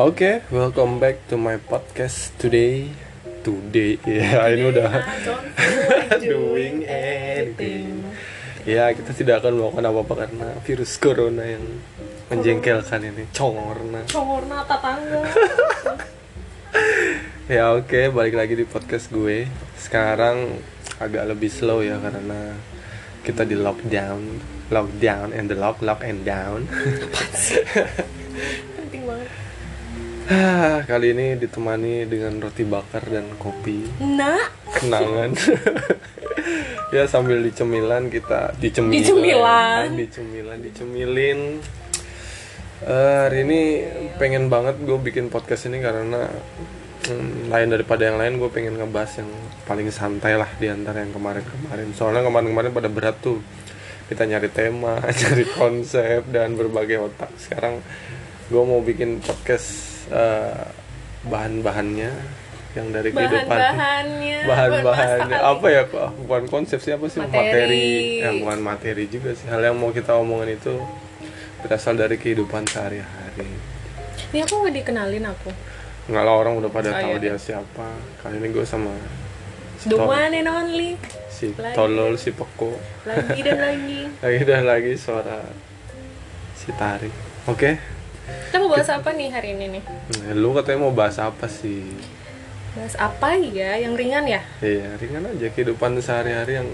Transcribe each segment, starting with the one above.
Oke, welcome back to my podcast today. Today, ya ini udah Nah, doing anything. Ya kita tidak akan melakukan apa-apa karena virus corona yang menjengkelkan ini, congorna. Congorna tatangga. Ya oke, balik lagi di podcast gue. Sekarang agak lebih slow ya karena kita di lockdown, lockdown and the lock, lock and down. Penting banget. Ah, Kali ini ditemani dengan roti bakar dan kopi. Nah, kenangan ya sambil dicemilan kita dicemilan Dicemilan. dicemilan dicemilin Eh, hari ini pengen banget gue bikin podcast ini karena hmm, lain daripada yang lain gue pengen ngebahas yang paling santai lah di antara yang kemarin-kemarin soalnya kemarin-kemarin pada berat tuh kita nyari tema cari konsep dan berbagai otak sekarang gue mau bikin podcast eh, bahan-bahannya yang dari kehidupan bahan-bahannya. bahan-bahan buat apa masakan. ya pak bukan konsep sih apa sih materi, Materi. Ya, bukan materi juga sih hal yang mau kita omongin itu berasal dari kehidupan sehari-hari Ini aku mau dikenalin aku. nggak lah orang udah pada Oh, tahu iya. dia siapa kali ini gue sama si The Tol- one and only. si lagi. tolol si peko Lagi dan lagi. lagi dan lagi suara si tarik oke Kita mau bahas apa nih hari ini nih? Nah, lu katanya mau bahas apa sih Bahas apa ya? Yang ringan ya? Iya, ringan aja kehidupan sehari-hari yang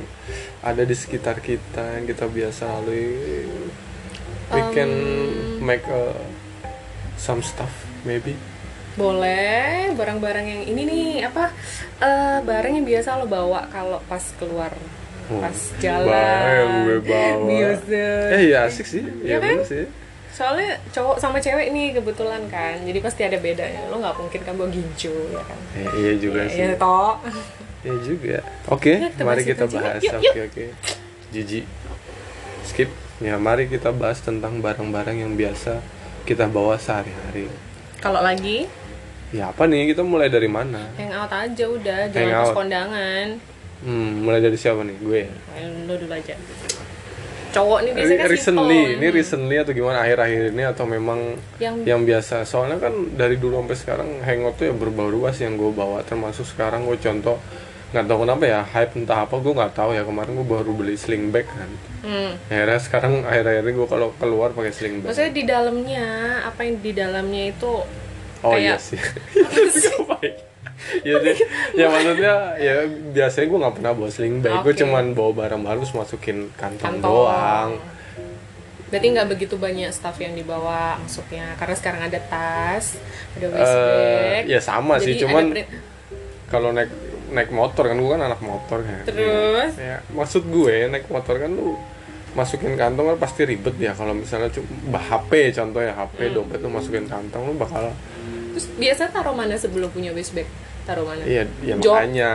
ada di sekitar kita yang kita biasa lalui. We can make a, some stuff maybe. Boleh barang-barang yang ini nih apa? Eh barang yang biasa lo bawa kalau pas keluar Oh, pas jalan. barang gue bawa. Biasa. Eh iya asik sih, iya Iya kan? bener sih. soalnya cowok sama cewek nih kebetulan kan jadi pasti ada bedanya lo nggak mungkin kan bawa gincu ya kan Eh, iya juga sih. ya toh Iya juga. Oke, Yuk, kita mari bahas kita itu aja. bahas. Yuk, Oke yuk. oke. Jiji. Skip. Ya, mari kita bahas tentang barang-barang yang biasa kita bawa sehari-hari. kalau lagi Ya apa nih? Kita mulai dari mana? hangout aja udah jangan Hangout. pas kondangan Hmm, mulai dari siapa nih? Gue. ya? Eh, lo dulu aja cowok nih biasanya kan recently simple. ini Iya. recently atau gimana akhir-akhir ini atau memang yang yang biasa soalnya kan dari dulu sampai sekarang hangout tuh ya berubah ubah sih yang gue bawa termasuk sekarang gue contoh nggak tahu kenapa ya hype entah apa gue nggak tahu ya kemarin gue baru beli sling bag kan hmm. akhirnya sekarang akhir-akhir ini gue kalau keluar pakai sling bag maksudnya di dalamnya apa yang di dalamnya itu oh iya kayak- sih ya, deh. ya maksudnya ya biasanya gue nggak pernah bawa sling bag gue Oke. cuman bawa barang baru terus masukin kantong, Kantong. doang berarti nggak begitu banyak staff yang dibawa maksudnya karena sekarang ada tas ada Eh, waist bag ya sama sih Jadi ada cuman print- kalau naik naik motor kan gue kan anak motor kan Terus? ya maksud gue naik motor kan lu masukin kantong kan pasti ribet ya kalau misalnya cuma HP contoh ya Hmm. HP dompet lu masukin kantong lu bakal Terus biasa taruh mana sebelum punya waist bag? Taruh mana? iya ya Jok. makanya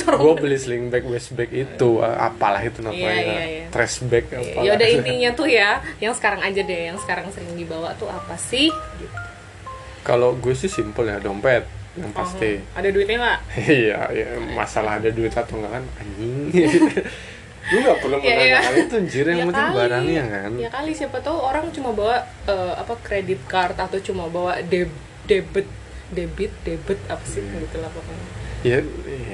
gue beli sling bag waist bag itu eh, apalah itu namanya iya, iya. trash bag apalah Ya udah intinya tuh ya, yang sekarang aja deh, yang sekarang sering dibawa tuh apa sih? kalau gue sih simple ya dompet yang pasti Oh, ada duitnya nggak? Iya, iya, masalah ada duit atau enggak kan anjing. Lu gak perlu Iya, iya. menanyakan itu anjir, yang Ya penting kali. barangnya kan. Ya kali siapa tahu orang cuma bawa eh, apa kredit card atau cuma bawa deb- debit debit debit apa sih Iya. gitu lah pokoknya. Ya,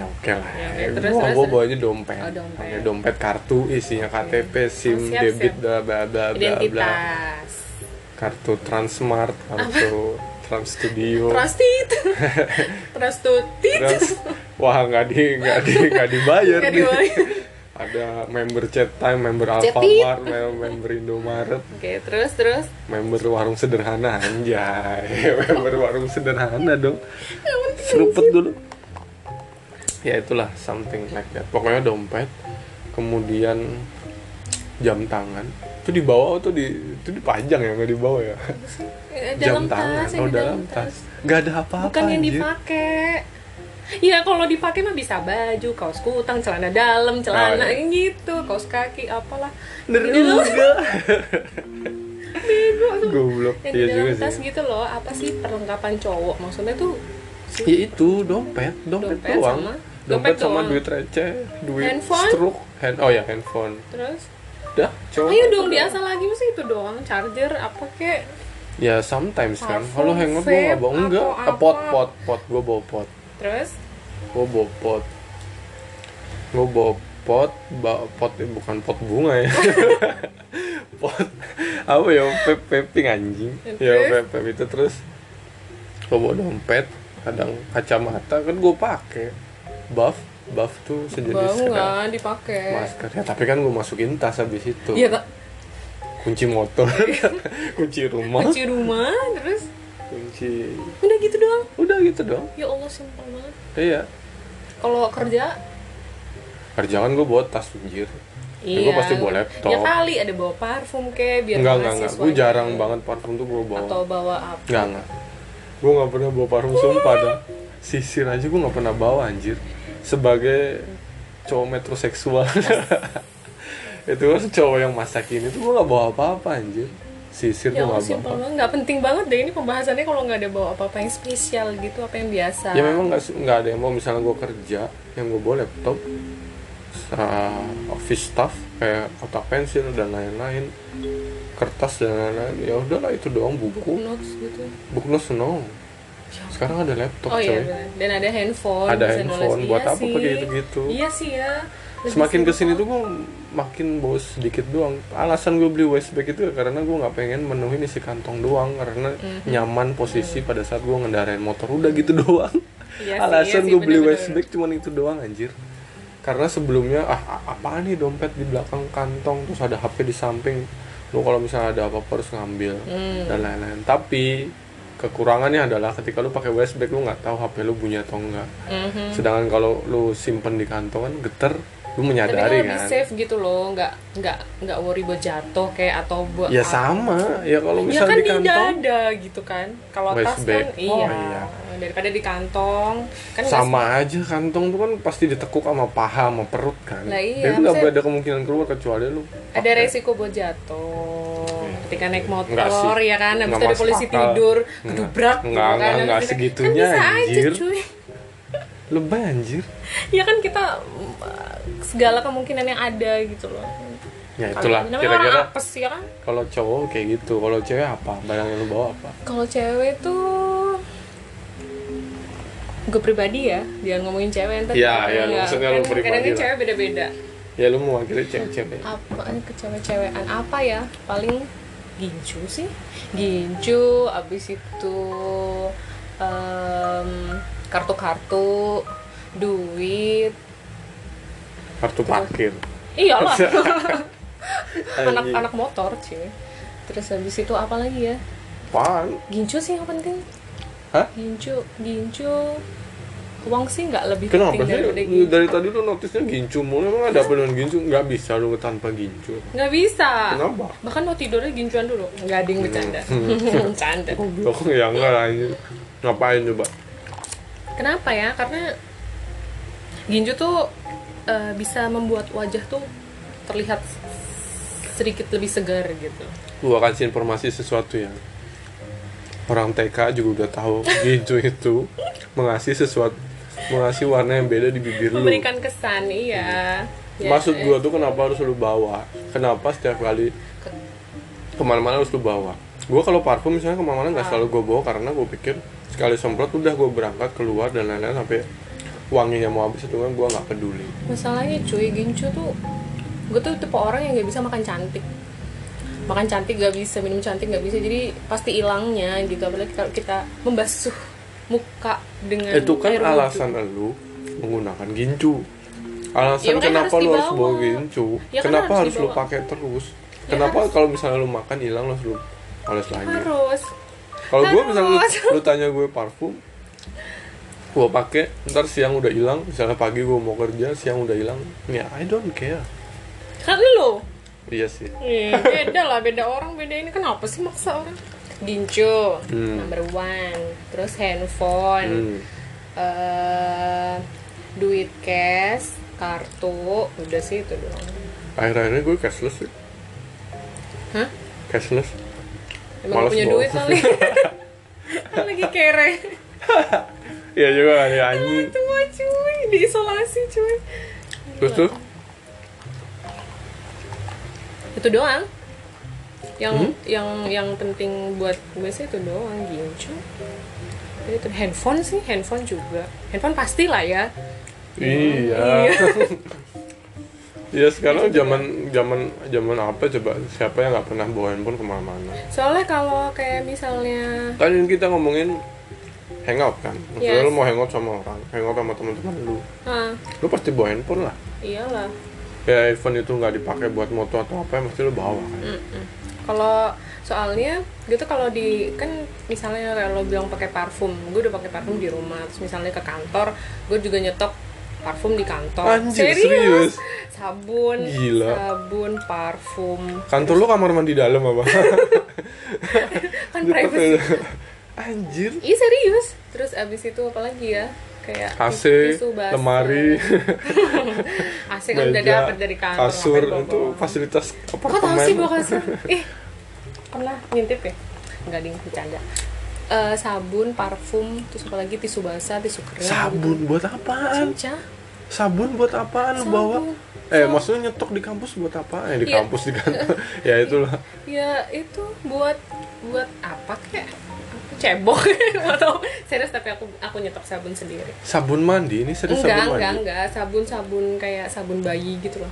ya oke lah. Ya, oke, Ya, terus, gua terus, gua terus. bawanya dompet. Oh, dompet. Oh, Ada dompet kartu isinya KTP, SIM, siap, debit, siap. bla bla bla bla bla. Identitas. Kartu Transmart, kartu Trans Studio. Trusted. Trusted. Trans- wah nggak di nggak di nggak dibayar Nggak nih. dibayar. Ada member Chat Time, member Cetit. Alfamart, mem- member Indomaret, Oke, terus terus. member warung sederhana anjay member warung sederhana dong serupet dulu ya itulah something like that pokoknya dompet kemudian jam tangan itu dibawa atau di itu dipajang ya nggak dibawa ya Eh, jam Dalam tangan tas, yang oh di dalam tas nggak ada apa-apa Bukan yang anjir. dipakai. Ya kalau dipakai mah bisa baju, kaos kutang, celana dalam, celana Oh, iya. gitu, kaos kaki, apalah. Gitu Bener Yang di dalam- juga goblok Yang iya di juga dalam tas sih gitu loh, apa sih perlengkapan cowok? Maksudnya tuh si- ya itu dompet dompet, Dompet doang sama- dompet dompet sama doang. duit receh duit Handphone? struk hand oh ya handphone terus Dah, coba. ayo dong biasa lagi mesti itu doang charger apa kek ya sometimes kan Parfum, kalau hangout gue nggak vape, bawa enggak atau Eh, pot apa. pot pot gue bawa pot Terus gue bawa pot gue bawa pot ba- pot eh, bukan pot bunga ya pot apa ya pep peping anjing ya Terus? pep pep itu terus gue bawa dompet kadang kacamata kan gue pakai buff buff tuh sejenis bau kayak kan dipakai. masker ya tapi kan gue masukin tas habis itu Iya, tak kunci motor kunci rumah kunci rumah terus kunci udah gitu doang. udah gitu dong Ya Allah simpel banget. iya Kalau kerja kerjaan gue bawa tas anjir Ya, gua pasti bawa laptop. Ya kali ada bawa parfum ke biar enggak enggak enggak mahasiswa gue jarang Iya, gitu. banget parfum tuh gue bawa Atau bawa apa? Ya enggak enggak gue nggak pernah bawa parfum sumpah dah sisir aja gue nggak pernah bawa anjir sebagai cowok metroseksual itu kan cowok yang masakin itu gue nggak bawa apa-apa anjir sisir gue nggak Ya Allah bawa simpel apa-apa. banget, nggak penting banget deh ini pembahasannya kalau nggak ada bawa apa-apa yang spesial gitu, apa yang biasa. ya memang nggak su- nggak ada yang mau misalnya gue kerja yang gue bawa laptop uh, office stuff kayak kotak pensil dan lain-lain kertas dan lain-lain ya udahlah itu doang buku buku notes gitu. buku no no sekarang ada laptop oh coy. iya, benar. dan ada handphone. ada bisa nulis. handphone buat Iya apa sih. pakai gitu-gitu Iya sih ya. Lebih semakin simpel. Iya kesini tuh gue makin bos sedikit doang alasan gue beli Westback itu ya karena gue nggak pengen menuhin isi kantong doang karena Mhm. nyaman posisi pada saat gue ngendarain motor udah gitu doang Iya sih, iya alasan sih, gue beli bener-bener. Westback cuman itu doang anjir karena sebelumnya ah a- apaan nih dompet di belakang kantong terus ada HP di samping lu kalau misalnya ada apa-apa harus ngambil Hmm. dan lain-lain tapi kekurangannya adalah ketika lu pakai Westback lu nggak tahu HP lu bunyi atau enggak Mhm. sedangkan kalau lu simpen di kantong kan geter lu Tapi kan menyadari lebih kan safe gitu loh, nggak nggak nggak worry buat jatuh kayak atau buat ya apa. sama ya kalau Ya misal kan di kantong dada gitu kan. Kalau tas kan Westback. iya. Oh, iya. Daripada di kantong kan nggak sama aja kantong tuh kan pasti ditekuk sama paha sama perut kan Lah iya, itu nggak maksudnya- ada kemungkinan keluar kecuali lu ada pakai. resiko buat jatuh Iya. ketika naik Enggak motor sih. ya kan habis Enggak itu ada masuk polisi akal. tidur Enggak. gedubrak gitu Enggak, kan. enggak, Habis enggak itu kan, segitunya, kan bisa anjir." aja cuy lebay anjir ya kan kita mm, segala kemungkinan yang ada gitu loh ya itulah Namanya kira-kira orang apes ya kan kalau cowok kayak gitu kalau cewek apa barang yang lu bawa apa kalau cewek tuh gue pribadi ya jangan ngomongin cewek ntar Iya, iya, Iya, maksudnya lu kan pribadi kadang kan lah. cewek beda-beda ya lu mewakili cewek-cewek apa ke cewek-cewekan apa ya paling gincu sih gincu abis itu em, kartu-kartu duit kartu parkir iyalah Anjing. anak-anak motor cuy terus habis itu apa lagi ya apaan gincu sih yang penting Hah? gincu gincu uang sih nggak lebih Kenapa penting sih daripada lu gincu dari tadi lu notisnya gincu mulu emang ada apa dengan gincu? Nggak bisa lu tanpa gincu. nggak bisa Kenapa? Hmm. bahkan mau tidurnya gincuan dulu nggak ada yang bercanda bercanda Goblok ya enggak lah anjir. Ngapain coba? Kenapa ya? Karena ginju tuh eh, bisa membuat wajah tuh terlihat sedikit lebih segar gitu. Gua kasih informasi sesuatu ya. Orang TK juga udah tahu gincu itu mengasih sesuatu mengasih warna yang beda di bibir lu. Memberikan kesan, iya. Ya, Hmm. Maksud eh, gua tuh kenapa harus lu bawa? Kenapa setiap kali ke- kemana-mana harus lu bawa? Gua kalau parfum misalnya kemana-mana Ah. nggak selalu gua bawa karena gua pikir sekali semprot udah gua berangkat keluar dan lain-lain sampai wanginya mau habis itu kan gua nggak peduli. Masalahnya cuy, gincu tuh gue tuh tipe orang yang nggak bisa makan cantik. Makan cantik gak bisa, minum cantik gak bisa. Jadi pasti hilangnya gitu. Apalagi kalau kita membasuh muka dengan itu kan air wudhu. alasan lu menggunakan gincu Ya, alasan makanya kenapa harus lu harus dibawa. bawa gincu Ya, kan kenapa harus harus, lu dibawa. Ya kan? pakai terus kenapa kalau misalnya lu makan hilang lu harus lu harus lanjut Harus. kalau gue Harus. misalnya lu, lu tanya gue parfum gue pakai ntar siang udah hilang misalnya pagi gue mau kerja siang udah hilang ya I don't care Kan lu iya sih Iya, beda lah, beda orang, beda ini kenapa sih maksa orang? Gincu, Hmm. number one, terus Hmm. handphone, eh, duit cash, kartu, udah sih itu doang. akhir-akhirnya gue cashless sih Hah? cashless Emang Males punya bawa. duit kali? kan lagi kere. iya juga ya anjing Tua cuy, diisolasi cuy. terus tuh Itu doang. yang Hmm? yang yang penting buat gue sih itu doang gincu Jadi itu handphone sih handphone juga handphone pastilah ya Iya. Iya sekarang zaman zaman zaman apa coba siapa yang nggak pernah bawa handphone kemana-mana? soalnya kalau kayak misalnya Tadi kita ngomongin hangout kan, maksudnya Yes. lu mau hangout sama orang, hangout sama teman-teman lu, ah lu pasti bawa handphone lah. iyalah Ya iPhone itu nggak dipakai buat moto atau apa, mesti lu bawa kan. kalau soalnya gitu kalau di kan misalnya kalau lo bilang pakai parfum gue udah pakai parfum di rumah terus misalnya ke kantor gue juga nyetok parfum di kantor Anjir, serius? sabun Gila. sabun parfum Kantor lu kamar mandi dalam apa? kan privacy Anjir. iya serius terus abis itu apalagi ya kayak AC, tisu basah. lemari, AC kan udah meja, dapet dari kantor kasur, ngapain bawa-bawa? itu fasilitas Kok tahu sih bawa apartemen. kasur? Ih, pernah ngintip ya? Enggak ding, bercanda. Eh, sabun, parfum, terus apa lagi tisu basah, tisu kering. Sabun buat apaan? Cincah. Sabun buat apaan lu Sabun. bawa? Eh, maksudnya nyetok di kampus buat apaan? Ya, di Iya. kampus di kantor. ya itulah. Ya itu buat buat apa kek? Aku cebok atau serius tapi aku aku nyetok sabun sendiri. Sabun mandi ini serius enggak, sabun enggak, mandi. enggak. Sabun-sabun kayak sabun bayi gitu loh.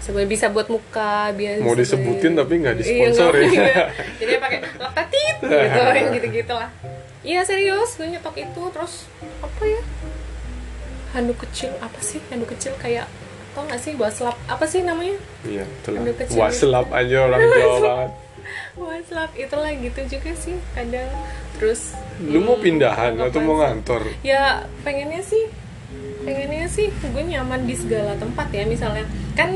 Sebenarnya bisa buat muka biasa. Mau disebutin tapi nggak Iya, disponsorin. nggak, iya. Jadi pakai laktatit gitu yang gitu-gitu lah. Iya serius, gue nyetok itu terus apa ya? Handuk kecil apa sih? Handuk kecil kayak tau nggak sih waslap apa sih namanya? Iya, itulah. Aduh, kecil. Waslap aja orang Jawa banget. Waslap itulah gitu juga sih kadang terus Lu Hmm, mau pindahan nggak atau mau apa-apa. ngantor? ya pengennya sih pengennya sih gue nyaman di segala tempat ya misalnya kan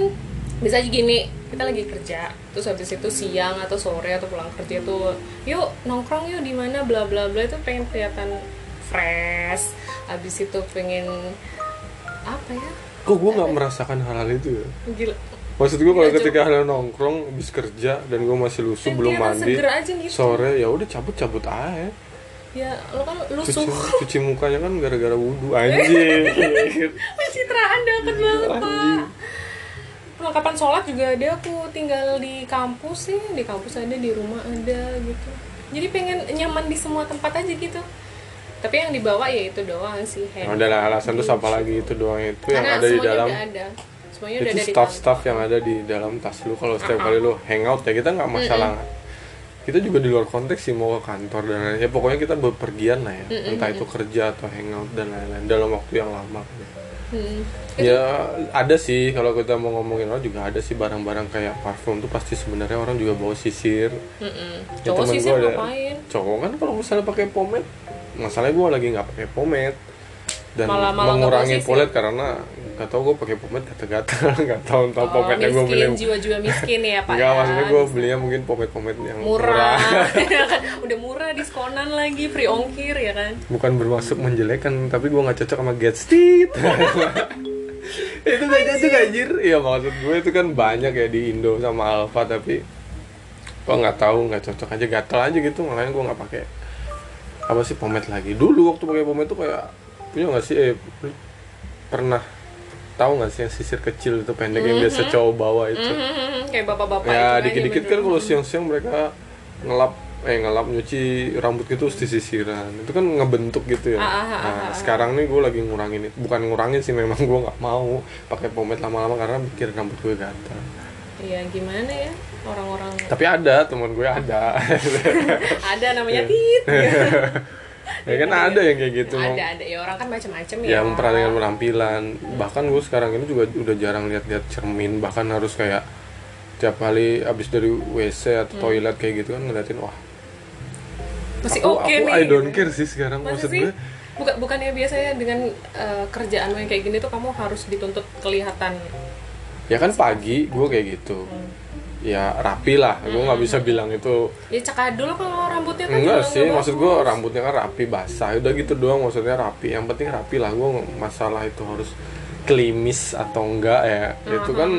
bisa aja gini kita lagi kerja terus habis itu siang atau sore atau pulang kerja tuh yuk nongkrong yuk di mana bla bla bla itu pengen kelihatan fresh habis itu pengen apa ya Kok gue nggak merasakan hal-hal itu ya? gila Maksud gue kalau Nggak, ketika hal nongkrong, habis kerja dan gue masih lusuh Yang belum kelihatan mandi, seger aja gitu. sore ya udah cabut-cabut aja. ya lo kan Cuci, lusuh cuci mukanya kan gara-gara wudhu anjing. pencitraan dapet banget Anjing. pak perlengkapan sholat juga ada aku tinggal di kampus sih di kampus ada di rumah ada gitu jadi pengen nyaman di semua tempat aja gitu tapi yang dibawa ya itu doang sih Yang hand udah lah, alasan terus apa lagi itu doang itu yang karena ada di semuanya dalam udah ada semuanya udah itu ada di staff-staff yang ada di dalam tas lu kalau setiap kali lu hangout ya kita nggak masalah kita juga di luar konteks sih mau ke kantor dan lain-lain ya pokoknya kita bepergian lah ya entah itu kerja atau hangout dan lain-lain dalam waktu yang lama Hmm. ya ada sih kalau kita mau ngomongin orang juga ada sih barang-barang kayak parfum tuh pasti sebenarnya orang juga bawa sisir Mm-mm. Ya, cowok temen sih gua ada- ngapain cowok kan kalau misalnya pakai pomade masalahnya gue lagi nggak pakai pomade dan Malah- malah nggak mengurangi posisi. pomade karena nggak tau gue pakai pomade gatal-gatal nggak tau entah Oh, pomade yang gue beli miskin jiwa-jiwa miskin ya pak nggak ya. maksudnya gue belinya mungkin pomade pomade yang murah, murah Ya kan? udah murah diskonan lagi free ongkir ya kan bukan bermaksud menjelekan tapi gue nggak cocok sama Gatstit itu gak cocok anjir iya maksud gue itu kan banyak ya di Indo sama Alfa tapi gue nggak tahu nggak cocok aja gatal aja gitu makanya gue nggak pakai apa sih pomade lagi dulu waktu pakai pomade tuh kayak punya nggak sih eh, lu pernah tahu nggak sih yang sisir kecil itu pendek yang biasa cowok bawa itu Mhm, kayak bapak-bapak itu ya kan, dikit-dikit kan nyebut- kalau siang-siang mereka ngelap eh ngelap nyuci rambut gitu terus disisiran itu kan ngebentuk gitu ya Ah, ah, ah, nah ah, ah. sekarang nih gue lagi ngurangin itu bukan ngurangin sih memang gue nggak mau pakai pomade lama-lama karena bikin rambut gue gatal Iya gimana ya orang-orang tapi ada teman gue ada ada Iya. namanya tit. ya kan ada yang kayak gitu mau ada ada ya orang kan macam-macam ya. ya memperhatikan penampilan bahkan gue sekarang ini juga udah jarang lihat-lihat cermin bahkan harus kayak tiap kali abis dari WC atau toilet kayak gitu kan ngeliatin wah Hmm. Masih aku, oke aku nih. I don't care sih sekarang Masa maksud sih? gue Bukan bukannya biasanya dengan eh, kerjaan lo yang kayak gini tuh kamu harus dituntut kelihatan. ya kan pagi gue kayak gitu ya rapi lah gue nggak bisa bilang itu Ya cakadul kalau rambutnya kan enggak juga sih nggak maksud gue rambutnya kan rapi basah udah gitu doang maksudnya rapi yang penting rapi lah gue masalah itu harus klimis atau enggak ya Hmm, itu kan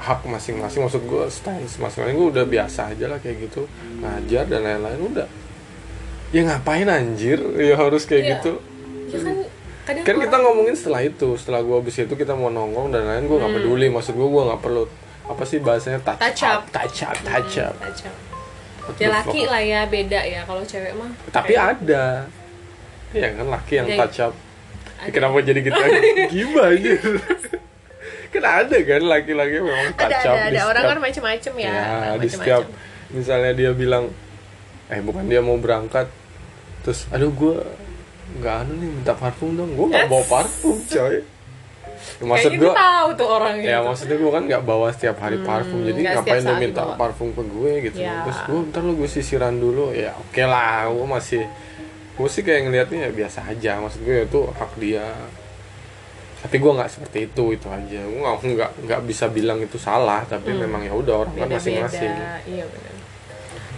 hak masing-masing maksud gue stance masing-masing gue udah biasa aja lah kayak gitu ngajar dan lain-lain udah ya ngapain anjir ya harus kayak Iya. gitu bagus. Ya kan kadang kan kita orang- ngomongin setelah itu setelah gue habis itu kita mau nongkrong dan lain gue nggak peduli maksud gue gue nggak perlu apa sih bahasanya touch, Hmm. Touch up, up. touch up, touch up. Touch up. What Ya the laki fuck? lah ya beda ya kalau cewek mah. Tapi kayak ada. Iya kan laki yang Ada- touch up. ada. Kenapa jadi gitu? Gimana aja? kan ada kan laki-laki memang ada touch ada, up. ada. di orang setiap- kan macem-macem ya. orang di macem-macem. setiap misalnya dia bilang eh bukan dia mau berangkat terus aduh gue nggak anu nih minta parfum dong gue nggak bawa parfum coy Ya, maksud gue Kayaknya tuh gitu tahu tuh orang ya gitu. Hmm, maksudnya gue kan nggak bawa setiap hari parfum jadi nggak ngapain setiap lu saat minta dibawa. parfum ke gue gitu Ya. terus gue ntar lu gue sisiran dulu ya oke lah gue masih gue sih kayak ngelihatnya ya biasa aja maksud gue itu hak dia tapi gue nggak seperti itu itu aja gue nggak nggak nggak bisa bilang itu salah tapi memang ya udah orang kan Hmm. Beda-beda. masing-masing Iya benar.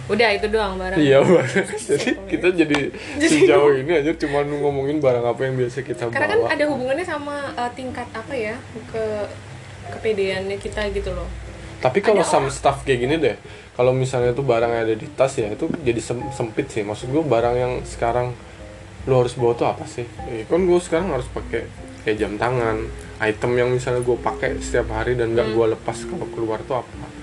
Udah itu doang barang. Iya barang. Jadi kita jadi sejauh ini aja cuma ngomongin barang apa yang biasa kita Karena kan bawa. ada hubungannya sama eh, tingkat apa ya ke kepedeannya kita gitu loh. Tapi kalau some stuff kayak gini deh, kalau misalnya itu barang yang ada di tas ya itu jadi sem- sempit sih. Maksud gue barang yang sekarang lo harus bawa tuh apa sih? Ya, kan gue sekarang harus pakai kayak jam tangan, item yang misalnya gue pakai setiap hari dan gak gue lepas kalau keluar tuh apa?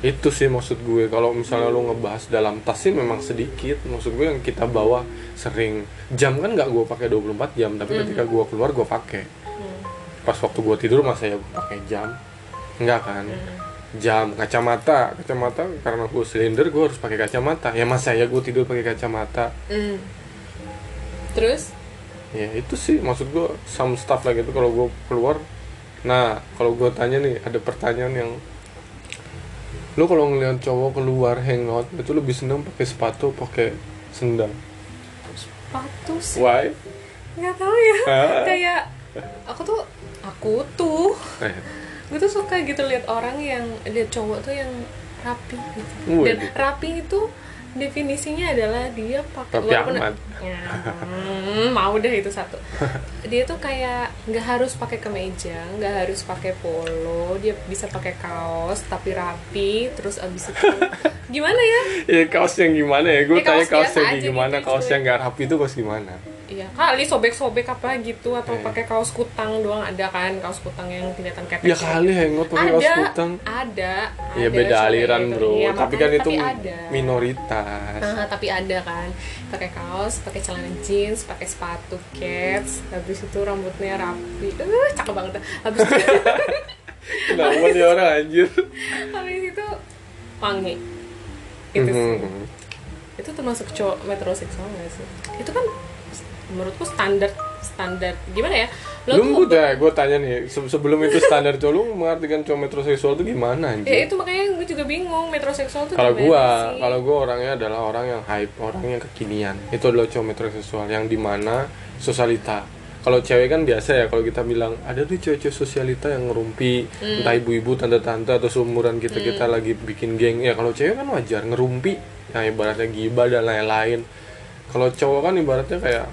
Itu sih maksud gue. Kalau misalnya lo ngebahas dalam tas sih memang sedikit. Maksud gue yang kita bawa sering jam kan gak gue pakai 24 jam, tapi ketika gue keluar gue pakai. Hmm. Pas waktu gue tidur masa ya gue pakai jam? Enggak kan? jam kacamata kacamata karena gue silinder gue harus pakai kacamata ya masa ya gue tidur pakai kacamata Hmm. Terus ya itu sih maksud gue some stuff lah gitu kalau gue keluar nah kalau gue tanya nih ada pertanyaan yang lu kalau ngelihat cowok keluar hangout itu lebih seneng pakai sepatu pakai sendal sepatu sih why nggak tahu ya. Ah. Kayak aku tuh aku tuh eh, gue tuh suka gitu lihat orang yang lihat cowok tuh yang rapi gitu. dan Waduh. rapi itu definisinya adalah dia pakai Rapi amat. Ya, hmm, mau deh itu satu dia tuh kayak nggak harus pakai kemeja nggak harus pakai polo dia bisa pakai kaos tapi rapi terus abis itu gimana ya ya kaos yang gimana ya gue Ya, tanya kaos kaos biasa yang aja gimana gitu, kaos cuy. yang gak rapi itu kaos gimana Iya kali sobek-sobek apa gitu atau Iya. pakai kaos kutang doang ada kan kaos kutang yang kelihatan kayak ya kali hangout pakai kaos kutang ada Iya ada beda cewek aliran gitu. bro, Iya, tapi kan makanya- itu tapi ada. minoritas. Ah, tapi ada kan pakai kaos pakai celana jeans pakai sepatu cats habis itu rambutnya rapi uh, cakep banget dah. habis itu Kenapa nih orang anjir? habis itu wangi itu sih Mhm. itu termasuk cowok metroseksual nggak sih itu kan menurutku standar standar gimana ya Lu tuh- udah, gue tanya nih, se- sebelum itu standar cowok lu mengartikan cowok metroseksual itu gimana ya anjir? itu makanya gue juga bingung metroseksual tuh Kalau gimana gua, sih? kalau gua orangnya adalah orang yang hype, orang yang kekinian. Itu adalah cowok metroseksual yang dimana sosialita. Kalau cewek kan biasa ya, kalau kita bilang ada tuh cewek-cewek sosialita yang ngerumpi, entah ibu-ibu, tante-tante atau seumuran kita kita lagi bikin geng. Ya kalau cewek kan wajar ngerumpi, nah ibaratnya gibah dan lain-lain. Kalau cowok kan ibaratnya kayak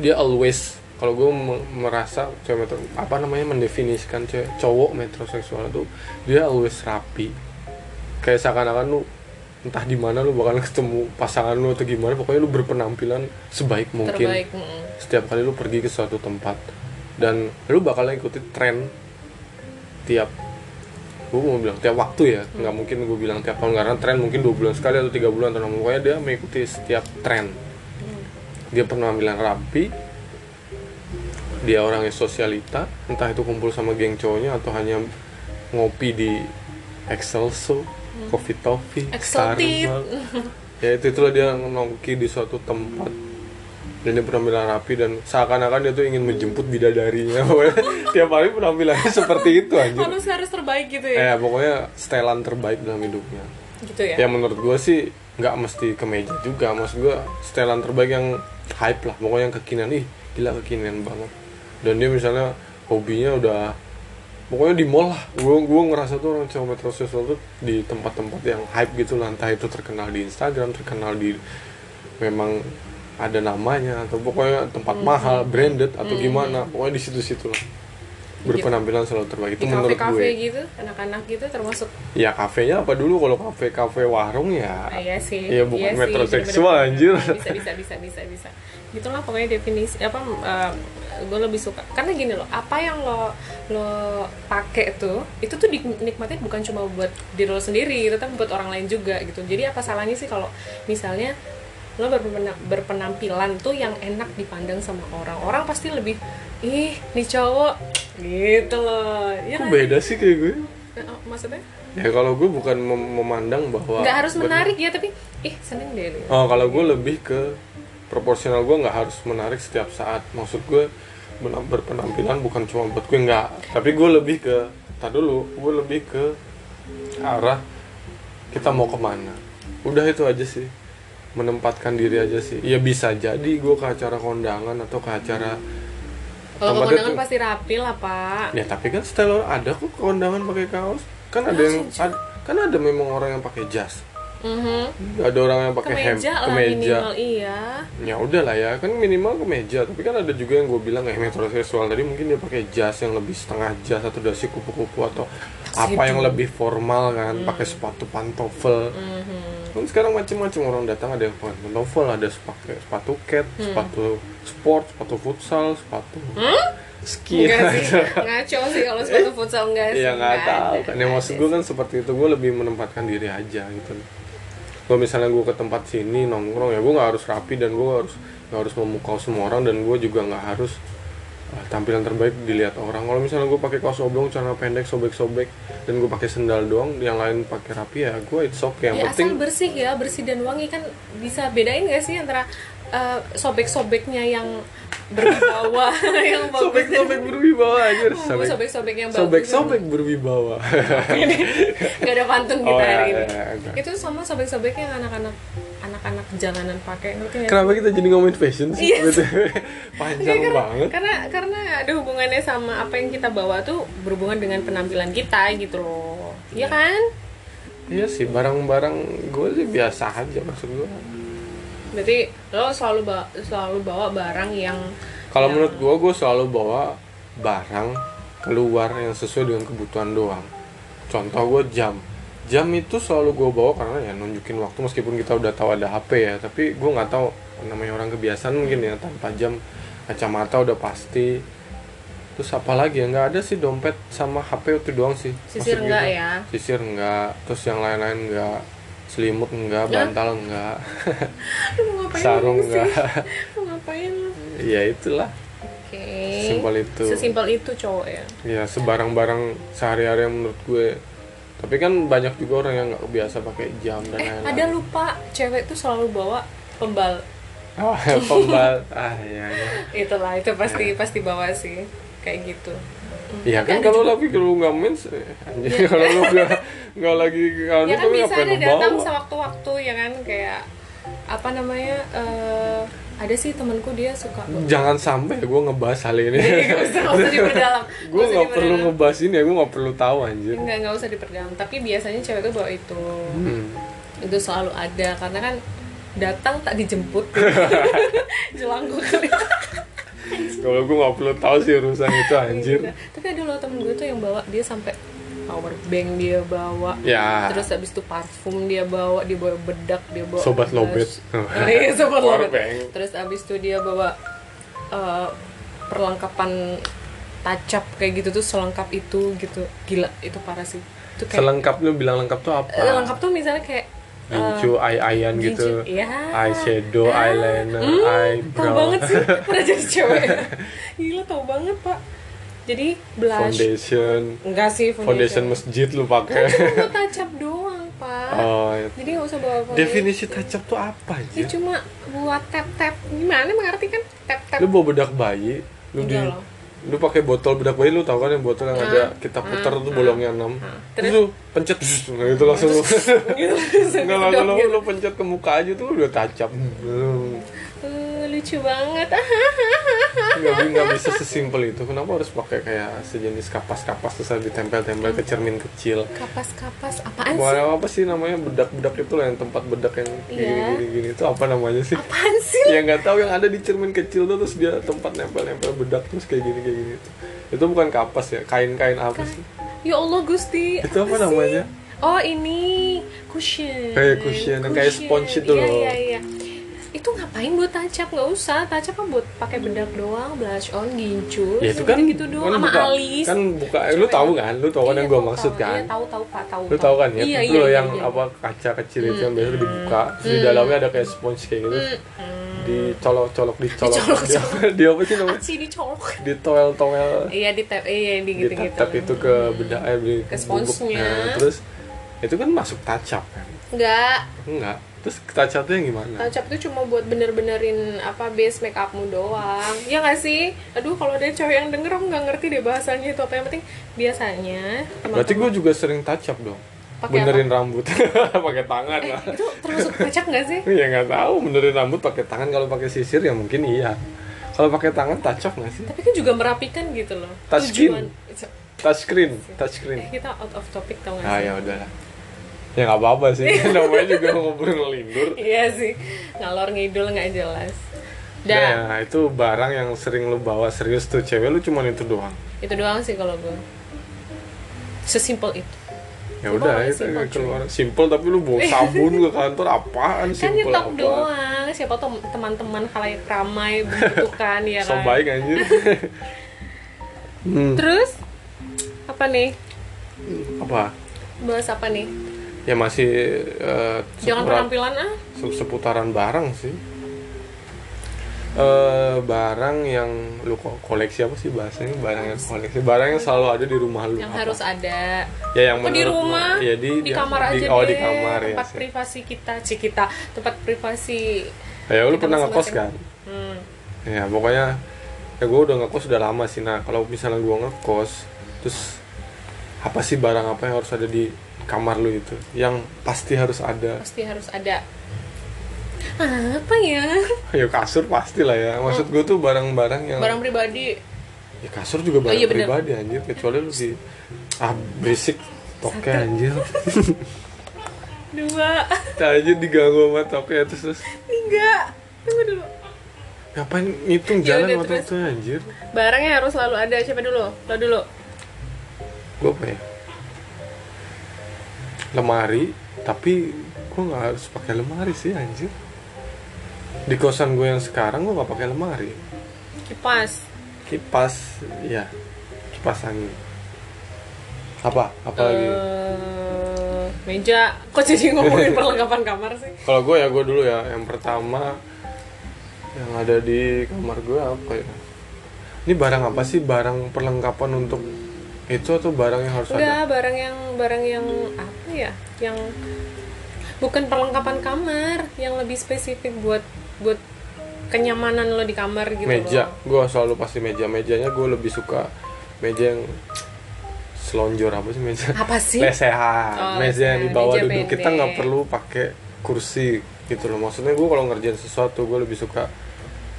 dia always kalau gue merasa cewek metro apa namanya mendefinisikan cewek- cowok metroseksual itu dia always rapi kayak seakan-akan lu entah di mana lu bakal ketemu pasangan lu atau gimana pokoknya lu berpenampilan sebaik mungkin terbaik mm-mm. setiap kali lu pergi ke suatu tempat dan lu bakal ikuti tren tiap gue mau bilang tiap waktu ya nggak mungkin gue bilang tiap tahun karena tren mungkin dua bulan sekali atau tiga bulan atau enam bulan. pokoknya dia mengikuti setiap tren dia penampilan rapi dia orangnya sosialita entah itu kumpul sama geng cowoknya atau hanya ngopi di Excelso Coffee Toffee Exalted. Starbucks. ya itu itulah dia nongki di suatu tempat dan dia penampilan rapi dan seakan-akan dia tuh ingin menjemput bidadarinya Pokoknya tiap hari penampilannya seperti itu anjir harus harus terbaik gitu eh ya pokoknya setelan terbaik dalam hidupnya gitu ya ya menurut gue sih nggak mesti kemeja juga maksud gue setelan terbaik yang hype lah pokoknya yang kekinian ih gila kekinian banget dan dia misalnya hobinya udah pokoknya di mall lah gue gue ngerasa tuh orang cowok metrosexual tuh di tempat-tempat yang hype gitu lah entah itu terkenal di Instagram terkenal di memang Hmm. ada namanya atau pokoknya tempat mahal branded atau gimana pokoknya di situ-situ lah berpenampilan selalu terbaik itu di menurut kafe-kafe gue gitu anak-anak gitu termasuk ya kafenya apa dulu kalau kafe kafe warung ya Ah, iya sih Iya, bukan sih, metroseksual, bener-bener. Iya, anjir. bisa bisa bisa bisa bisa gitulah pokoknya definisi apa eh, gue lebih suka karena gini loh apa yang lo lo pakai tuh itu tuh dinikmatin bukan cuma buat diri lo sendiri gitu, tapi buat orang lain juga gitu jadi apa salahnya sih kalau misalnya lo berpena- berpenampilan tuh yang enak dipandang sama orang orang pasti lebih ih nih cowok gitu loh ya Kok kan? beda sih kayak gue Eh, oh, maksudnya ya kalau gue bukan mem- memandang bahwa nggak harus bener- menarik ya tapi ih seneng deh gitu. Oh, kalau gue lebih ke proporsional gue nggak harus menarik setiap saat. Maksud gue bena- berpenampilan bukan cuma buat gue nggak, tapi gue lebih ke tak dulu, gue lebih ke arah kita mau kemana. Udah itu aja sih, menempatkan diri aja sih. Ya bisa jadi gue ke acara kondangan atau ke acara Kalau ke Tempatnya kondangan tuh- pasti rapi lah pak. ya tapi kan style orang ada kok ke kondangan pakai kaos. Kan Nah, ada yang ad- kan ada memang orang yang pakai jas, Mhm. ada orang yang pakai hem, Kemeja lah minimal iya. ya udahlah ya kan minimal kemeja tapi kan ada juga yang gue bilang kayak metroseksual tadi mungkin dia pakai jas yang lebih setengah jas atau dasi kupu-kupu atau apa yang lebih formal Hmm. kan pakai sepatu pantofel Mhm. kan sekarang macam-macam orang datang ada yang pakai pantofel ada sepatu sepatu cat Hmm. sepatu sport sepatu futsal sepatu ski Enggak sih, ngaco sih kalau sepatu futsal enggak sih. Iya nggak tahu ada, kan. Yang nggak maksud ada gue sih. kan seperti itu gue lebih menempatkan diri aja gitu. Kalau misalnya gue ke tempat sini nongkrong ya gue nggak harus rapi dan gue harus nggak harus memukau semua orang dan gue juga nggak harus ah, tampilan terbaik dilihat orang. Kalau misalnya gue pakai kaos oblong, celana pendek, sobek-sobek dan gue pakai sendal doang, yang lain pakai rapi ya gue it's okay. Yang Ya, penting asal bersih ya, bersih dan wangi kan bisa bedain gak sih antara eh, sobek-sobeknya yang berwibawa yang bagus sobek-sobek berwibawa aja. dan bumbu sobek-sobek yang bagus. Sobek-sobek berwibawa. Gak ada pantun kita Oh, ya, hari ini. ya, ya. Itu sama sobek-sobek yang anak-anak anak-anak jalanan pakai. Ngerti nggak sih? Kenapa kita jadi ngomongin fashion sih? Iya. Panjang banget. karena karena ada hubungannya sama apa yang kita bawa tuh berhubungan dengan penampilan kita gitu loh Iya kan Iya sih barang-barang gue sih biasa aja maksud gue. berarti lo selalu bawa, selalu bawa barang yang Iya. Kalau menurut gue gue selalu bawa barang keluar yang sesuai dengan kebutuhan doang. Contoh gue jam. Jam itu selalu gue bawa karena ya nunjukin waktu meskipun kita udah tahu ada HP ya tapi gue nggak tahu namanya orang kebiasaan mungkin ya tanpa jam kacamata udah pasti terus apa lagi ya nggak ada sih dompet sama HP itu doang sih Sisir Maksud enggak gitu. ya? sisir enggak terus yang lain-lain enggak selimut enggak bantal enggak Lu mau ngapain sarung sih? enggak Lu ngapain lu? ya itulah oke Sesimpel itu. sesimpel itu cowok ya ya sebarang-barang sehari-hari yang menurut gue tapi kan banyak juga orang yang nggak biasa pakai jam dan eh lain-lain ada lupa cewek tuh selalu bawa pembal oh, pembal ah ya ya itulah Nah. itu pasti pasti bawa sih kayak gitu Iya kan kalau lagi kalau nggak mens eh, anjir kalau lu nggak nggak lagi kalau Iya. ya kan lu bisa ngapain ada lu datang bawa? sewaktu-waktu ya kan kayak apa namanya eh, ada sih temanku dia suka jangan sampai gue ngebahas hal ini Iya, nggak usah nggak usah diperdalam gue usah nggak perlu diperdalam. ngebahas ini ya gue nggak perlu tahu anjir nggak nggak usah diperdalam tapi biasanya cewek tuh bawa itu hmm. itu selalu ada karena kan datang tak dijemput jelangku kali kalau gue nggak perlu tahu sih urusan itu anjir Gitu. tapi ada loh temen gue tuh yang bawa dia sampai power bank dia bawa Ya. terus habis itu parfum dia bawa dia bawa bedak dia bawa Sobat lobet. Ah, iya sobat Power lobet bank. terus habis itu dia bawa eh, perlengkapan tacap kayak gitu tuh selengkap itu gitu gila itu parah sih itu kayak selengkapnya bilang lengkap tuh apa Eh, lengkap tuh misalnya kayak Gincu, eye-eyan Ah. gincu, gitu Eh, iya. Eyeshadow, eyeliner, Tau eyebrow banget sih, pernah jadi cewek Gila, tau banget pak Jadi blush Foundation Enggak sih Foundation foundation, masjid lu pakai Cuma bawa touch-up doang pak Oh ya? iya. Jadi nggak usah bawa foundation Definisi touch up tuh apa Ini aja? cuma buat tap-tap Gimana mengerti kan tap-tap Lu bawa bedak bayi Lu di Enggak loh. Ah. Lu pakai botol bedak bayi lu tau kan yang botol yang ada kita putar tuh bolongnya 6 Terus Terus? lu pencet zzz, nah itu langsung lu gitu, terus Enggak lah, disedot lu, gitu. lu pencet ke muka aja tuh lu udah touch up Hmm. Eh, Lucu banget nggak bi- nggak bisa sesimpel itu kenapa harus pakai kayak sejenis kapas-kapas terus ada ditempel-tempel ke cermin kecil Kapas-kapas apaan sih? Wah, apa sih namanya bedak-bedak itu loh yang tempat bedak yang Iya. gini-gini itu apa namanya sih? Apaan sih? Ya nggak tahu yang ada di cermin kecil tuh terus dia tempat nempel-nempel bedak terus kayak gini kayak gini. tuh. itu bukan kapas ya kain-kain apa sih Ya Allah Gusti. itu apa sih? namanya Oh ini cushion. Kayak cushion, yang kayak sponge itu Iya, loh. Iya iya Itu ngapain buat tacap? Nggak usah. Tacap kan buat pakai bedak doang, blush on, gincu. ya itu kan gitu kan doang sama buka, alis. kan buka eh, lu Coba. tahu kan lu tahu kan Iya, yang gue tahu, maksud tahu. kan Iya, tahu tahu Pak, tahu. lu tahu kan ya Iya, itu iya, loh iya, yang iya. apa kaca kecil itu Hmm. yang biasanya dibuka terus di Hmm. dalamnya ada kayak sponge kayak gitu Hmm. dicolok-colok dicolok dia, Dicolok-colok. dia apa sih namanya Apaan sih dicolok? ditoel-toel Iya, di tap, iya, di gitu gitu. ditatap itu ke bedak eh di Ke bubuk. sponge-nya. Nah, terus itu kan masuk tacap kan Enggak, enggak terus tacapnya gimana Touch up tuh cuma buat bener-benerin apa base make upmu doang. Ya nggak sih? Aduh kalau ada cewek yang denger aku nggak ngerti deh bahasanya itu apa yang penting biasanya. teman-teman- berarti gue juga sering tacap dong Pakai benerin rambut pakai tangan lah Eh, itu termasuk touch up nggak sih? ya nggak tahu benerin rambut pakai tangan kalau pakai sisir ya mungkin iya kalau pakai tangan tacap nggak sih Tapi kan juga merapikan gitu loh. Touch Tujuan. touchscreen Eh touchscreen kita out of topic tau nggak ah sih? ya udahlah ya nggak apa-apa sih namanya juga ngobrol lindur Iya sih ngalor ngidul nggak jelas. Dan Nah, itu barang yang sering lu bawa serius tuh cewek lu cuman itu doang. itu doang sih kalau gue. Sesimpel itu. Ya Lu udah bawa itu simple, cuy. keluar simple tapi lu bawa sabun ke kantor apaan kan simple nyetok apa? doang siapa tuh teman-teman halayak ramai membutuhkan ya So kan baik anjir. hmm, terus apa nih apa? bahas apa nih Ya masih eh, jangan seputar- penampilan ah se- seputaran barang sih. eh barang yang lu ko- koleksi apa sih bahasanya barang yang koleksi barang yang selalu ada di rumah lu yang apa? harus ada ya yang Oh, di menurut lu- rumah ya di, kamar aja oh di deh kamar ya tempat sih. privasi kita Cik, kita tempat privasi Ya lu Kita pernah ngekos kan? masing-masing. hmm. Ya pokoknya ya gue udah ngekos udah lama sih. Nah kalau misalnya gue ngekos, terus apa sih barang apa yang harus ada di kamar lu itu? Yang pasti harus ada. pasti harus ada apa ya Ya kasur pasti lah ya. Maksud gue tuh barang-barang yang barang pribadi ya kasur juga barang iya, bener. pribadi anjir. Kecuali lu di ah berisik toke anjir. dua anjir diganggu sama toke terus, terus tiga tunggu dulu ngapain ngitung Ya jalan udah, waktu terus. itu anjir. barangnya harus selalu ada siapa dulu lo dulu gue apa ya lemari tapi gue nggak harus pakai lemari sih anjir di kosan gue yang sekarang gue nggak pakai lemari kipas kipas ya kipas angin apa apa lagi eh meja kok jadi ngomongin perlengkapan kamar sih kalau gue ya gue dulu ya yang pertama yang ada di kamar gue apa ya ini barang apa sih barang perlengkapan untuk itu atau barang yang harus ada enggak barang yang barang yang apa ya yang bukan perlengkapan kamar yang lebih spesifik buat buat kenyamanan lo di kamar gitu meja loh. gue selalu pasti meja mejanya gue lebih suka meja yang selonjor apa sih meja apa sih lesehan Oh, meja yang lesehan, di bawah meja duduk kita pendek. nggak perlu pakai kursi gitu loh maksudnya gue kalau ngerjain sesuatu gue lebih suka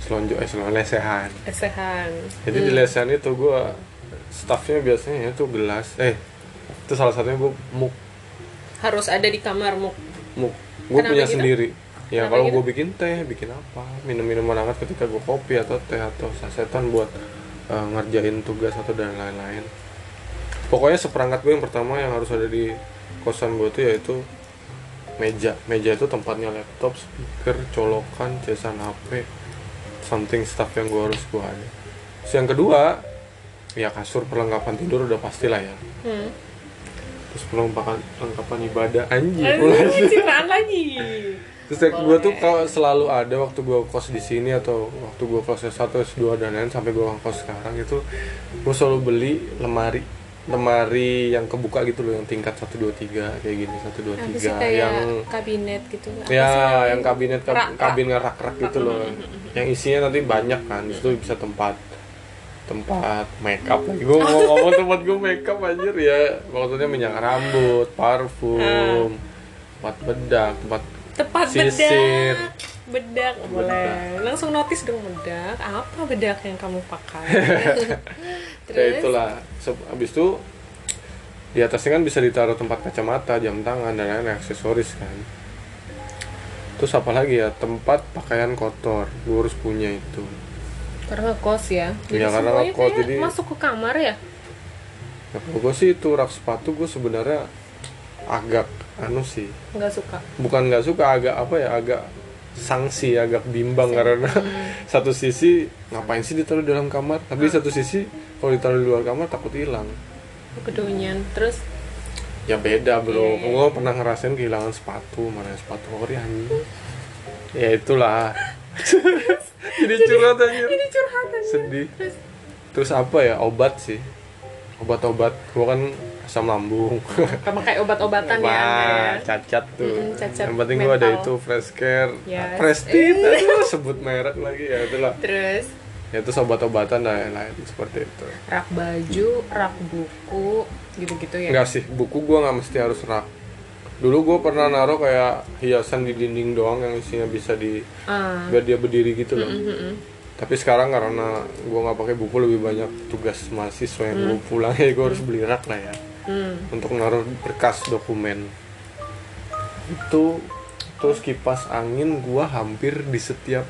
selonjor eh selonjor lesehan lesehan jadi di Hmm. lesehan itu gue staffnya biasanya itu gelas eh itu salah satunya gue muk harus ada di kamar muk muk gue Kenapa punya gitu? sendiri ya Kenapa kalau gitu? gue bikin teh bikin apa minum minuman hangat ketika gue kopi atau teh atau sasetan buat eh, ngerjain tugas atau dan lain-lain pokoknya seperangkat gue yang pertama yang harus ada di kosan gue tuh yaitu meja meja itu tempatnya laptop speaker colokan cesan hp something stuff yang gue harus gue ada terus yang kedua ya kasur perlengkapan tidur udah pastilah ya hmm. terus perlengkapan perlengkapan ibadah anjir ulas. Aduh, ciptaan lagi Terus gue tuh kalau selalu ada waktu gue kos di sini atau waktu gue kos S1, S2 dan lain sampai gue kos sekarang itu gue selalu beli lemari lemari yang kebuka gitu loh yang tingkat 1 2 3 kayak gini 1 2 apa 3 sih kayak yang kabinet gitu apa ya sih namanya? yang kabinet kab- Rak, rak. kabin rak-rak gitu loh. Yang isinya nanti banyak kan, terus lu bisa tempat tempat make up lagi. Gue mau ngomong tempat gue make up anjir ya. Maksudnya minyak rambut, parfum, tempat bedak, tempat tepat Sisir. bedak bedak boleh langsung notice dong bedak apa bedak yang kamu pakai Ya terus itulah. Se- Abis itu di atasnya kan bisa ditaruh tempat kacamata, jam tangan dan lain-lain aksesoris kan. Terus apa lagi ya tempat pakaian kotor, gue harus punya itu. karena ngekos ya jadi Iya, karena semuanya ngekos, kayak jadi- masuk ke kamar ya Nah, kalau gue sih itu rak sepatu gue sebenarnya agak anu sih nggak suka bukan nggak suka agak apa ya agak sanksi agak bimbang karena satu sisi ngapain sih ditaruh di dalam kamar tapi satu sisi kalau ditaruh di luar kamar takut hilang kedonyan terus ya beda bro Iya, iya. gue pernah ngerasain kehilangan sepatu mana sepatu ori anjing ya itulah jadi curhat aja ini curhatan sedih terus apa ya obat sih obat-obat gua kan asam lambung sama kayak obat-obatan ya, Wah, Angga, ya. cacat tuh. Mm-mm, cacat Yang penting gua ada mental. itu fresh care, Yes. prestit, aduh sebut merek lagi ya itulah. terus Ya itu obat-obatan dan lain-lain seperti itu. rak baju rak buku gitu-gitu ya Enggak sih, buku gua Iya. nggak mesti harus rak. Dulu gua pernah naruh kayak hiasan di dinding doang yang isinya bisa di Ah, biar dia berdiri gitu loh. mm-mm. Tapi sekarang karena gua nggak pakai buku lebih banyak tugas mahasiswa yang Mm. gua pulang ya gua harus beli rak lah ya Hmm. untuk naruh berkas dokumen. Itu terus kipas angin gua hampir di setiap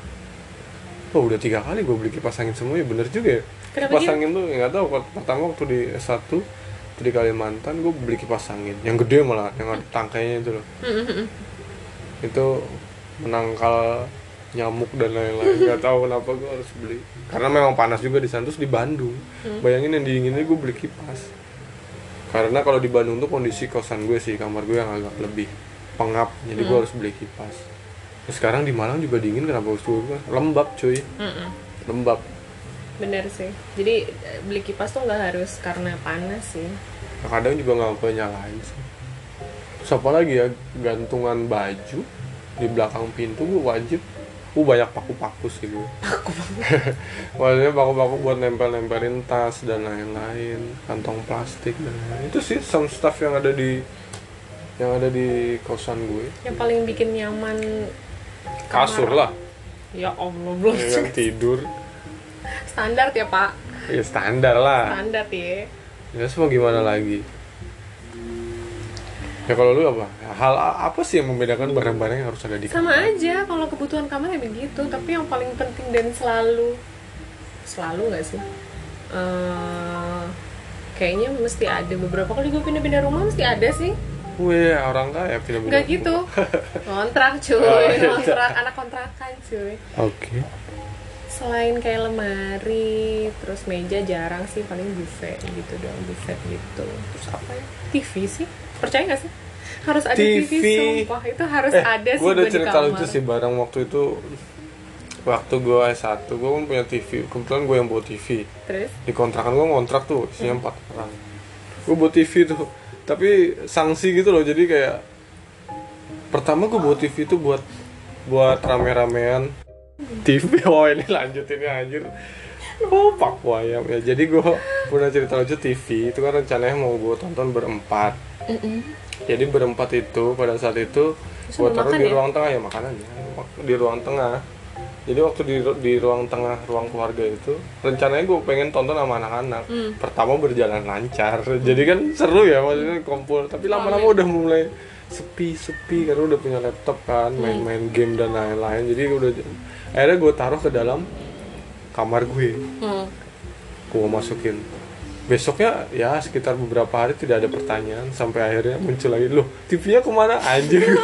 Oh udah tiga kali gue beli kipas angin semua ya bener juga ya Kenapa Kipas gitu? angin tuh ya nggak tahu Pak. pertama waktu di S1 waktu di Kalimantan gue beli kipas angin yang gede malah yang ada tangkainya itu loh Mm-mm. itu menangkal nyamuk dan lain-lain nggak tahu kenapa gue harus beli karena memang panas juga di sana terus di Bandung bayangin yang dinginnya gue beli kipas karena kalau di Bandung tuh kondisi kosan gue sih kamar gue yang agak lebih pengap jadi gue harus beli kipas Terus sekarang di Malang juga dingin kenapa harus gue lembab cuy Mm-mm. lembab bener sih jadi eh, beli kipas tuh nggak harus karena panas sih Nah, kadang juga nggak apa nyalain sih terus apa lagi ya gantungan baju di belakang pintu gue wajib gue banyak paku-paku sih gue Wajahnya baku-baku buat nempel-nempelin tas dan lain-lain, kantong plastik dan lain-lain. Itu sih some stuff yang ada di yang ada di kosan gue. yang paling bikin nyaman Kasur lah, ya allah belum ya kan, tidur. standar ya pak Ya standar lah. standar ya Ya semua gimana lagi? Ya kalau lu apa? Hal a- apa sih yang membedakan barang-barang yang harus ada di sama aja kalau kebutuhan kamar ya begitu tapi yang paling penting dan selalu selalu nggak sih Eh, kayaknya mesti ada beberapa kali gue pindah-pindah rumah mesti ada sih Wih, orang kaya pindah nggak gitu Oh, kontrak cuy iya. kontrak anak kontrakan cuy Oke. selain kayak lemari terus meja jarang sih paling buffet gitu doang buffet gitu terus apa ya TV sih percaya nggak sih harus ada TV, TV. sumpah itu harus ada sih gue Eh, ada gua di cerita kamar. lucu sih barang waktu itu waktu gue S1 gue kan punya TV kebetulan gue yang bawa TV terus di kontrakan gue ngontrak tuh Hmm. isinya empat orang gue bawa TV tuh tapi sanksi gitu loh jadi kayak pertama gue bawa TV tuh buat buat rame-ramean TV oh ini lanjut ini anjir oh pak wayang ya jadi gue punya cerita lucu TV itu kan rencananya mau gue tonton berempat jadi berempat itu pada saat itu gue Sambil taruh makan di ya? ruang tengah ya makanannya Wak- di ruang tengah jadi waktu di ru- di ruang tengah ruang keluarga itu rencananya gue pengen tonton sama anak-anak Hmm. pertama berjalan lancar jadi kan seru ya maksudnya kumpul tapi lama-lama udah mulai sepi sepi karena udah punya laptop kan Hmm. main-main game dan lain-lain jadi udah akhirnya gue taruh ke dalam kamar gue Hmm. gua masukin besoknya ya sekitar beberapa hari tidak ada pertanyaan sampai akhirnya muncul lagi loh TV-nya kemana anjir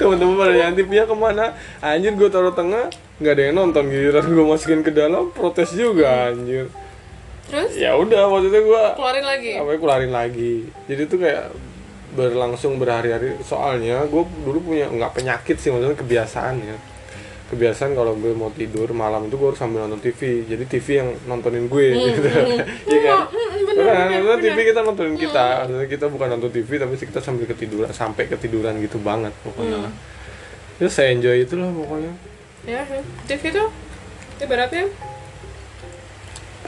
teman-teman pada yang TV-nya kemana anjir gue taruh tengah nggak ada yang nonton giliran gue masukin ke dalam protes juga anjir terus ya udah waktu itu gue keluarin lagi apa keluarin lagi jadi tuh kayak berlangsung berhari-hari soalnya gue dulu punya nggak penyakit sih maksudnya kebiasaan ya kebiasaan kalau gue mau tidur malam itu gue harus sambil nonton TV jadi TV yang nontonin gue Hmm, gitu Iya kan bener, Hmm. Bener, maksudnya TV kita nontonin kita maksudnya kita bukan nonton TV tapi kita sambil ketiduran sampai ketiduran gitu banget pokoknya Hmm. Terus saya enjoy itu lah pokoknya ya sih. TV itu ya? ibaratnya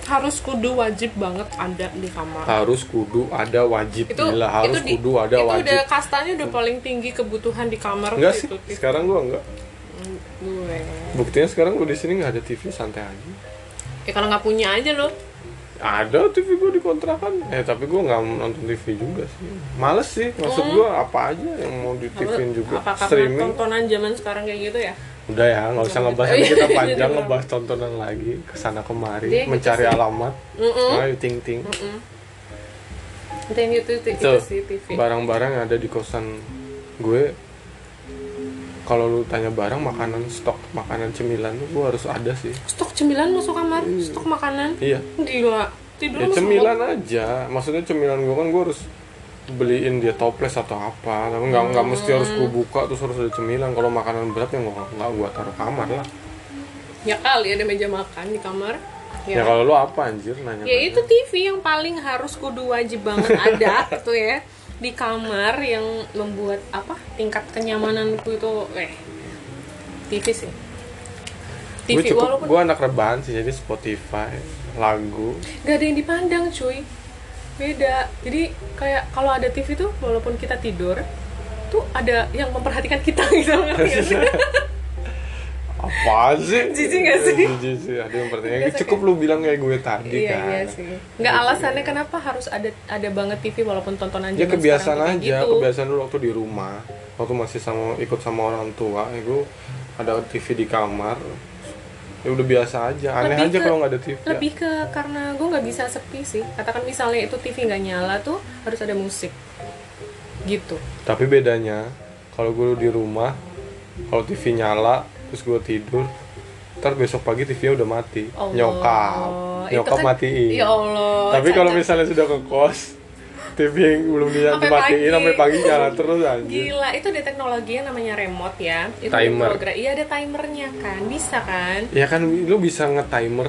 harus kudu wajib banget ada di kamar harus kudu ada wajib itu Ah, gila harus itu di- kudu ada itu wajib udah kastanya udah paling tinggi kebutuhan di kamar enggak tuh sih itu TV. sekarang gue enggak Hmm, gue Buktinya sekarang gue di sini nggak ada TV santai aja. ya kalau nggak punya aja lo Ada TV gue di kontrakan. Eh tapi gue nggak nonton TV juga sih. Males sih. Maksud gue apa aja yang mau di TV juga Hmm. apa karena streaming. tontonan zaman sekarang kayak gitu ya udah ya nggak usah Jangan. ngebahas Oh, nanti iya. kita Jadi panjang berapa? ngebahas tontonan lagi kesana kemari Jadi gitu mencari sih. Hmm. alamat Mm-mm. ayo ting ting Mm-mm. Dan itu, itu, itu Tuh, sih TV. barang-barang yang ada di kosan gue kalau lu tanya barang makanan stok makanan cemilan tuh gue harus ada sih Stok cemilan masuk kamar, stok makanan. iya Gila. Tidur ya masuk cemilan aja maksudnya cemilan gue kan gue harus beliin dia toples atau apa tapi nggak nggak mesti harus Hmm. gue buka terus harus ada cemilan kalau makanan berat yang nggak nggak gue taruh kamar lah kamar. Ya kali ada meja makan di kamar. kan? ya, kalau lu apa anjir nanya ya itu TV yang paling harus kudu wajib banget ada gitu ya di kamar yang membuat apa tingkat kenyamananku itu eh TV sih gue TV cukup walaupun gue anak rebahan sih jadi Spotify lagu gak ada yang dipandang cuy beda jadi kayak kalau ada TV tuh walaupun kita tidur tuh ada yang memperhatikan kita gitu ngerti gak sih? apa sih Jijik nggak sih? jijik sih ada yang pertanyaan Nggak sakit. cukup lu bilang kayak gue tadi iya kan iya sih nggak alasannya kenapa harus ada ada banget TV walaupun tontonan ya zaman kebiasaan sekarang tuh kayak aja gitu. kebiasaan dulu waktu di rumah waktu masih sama ikut sama orang tua ya gue ada TV di kamar ya udah biasa aja aneh Lebih aja ke- kalau nggak ada TV ya. lebih ke karena gue nggak bisa sepi sih katakan misalnya itu TV nggak nyala tuh harus ada musik gitu tapi bedanya kalau gue di rumah kalau TV nyala terus gue tidur ntar besok pagi TV-nya udah mati Allah. nyokap Itu nyokap kan- matiin ya Allah tapi kalau cacat. misalnya sudah ke kos TV yang belum dia Sampai dimatiin pagi. sampai pagi nyala terus anjir gila itu ada teknologi yang namanya remote ya itu Timer. program- iya ada timernya kan bisa kan ya kan lu bisa nge-timer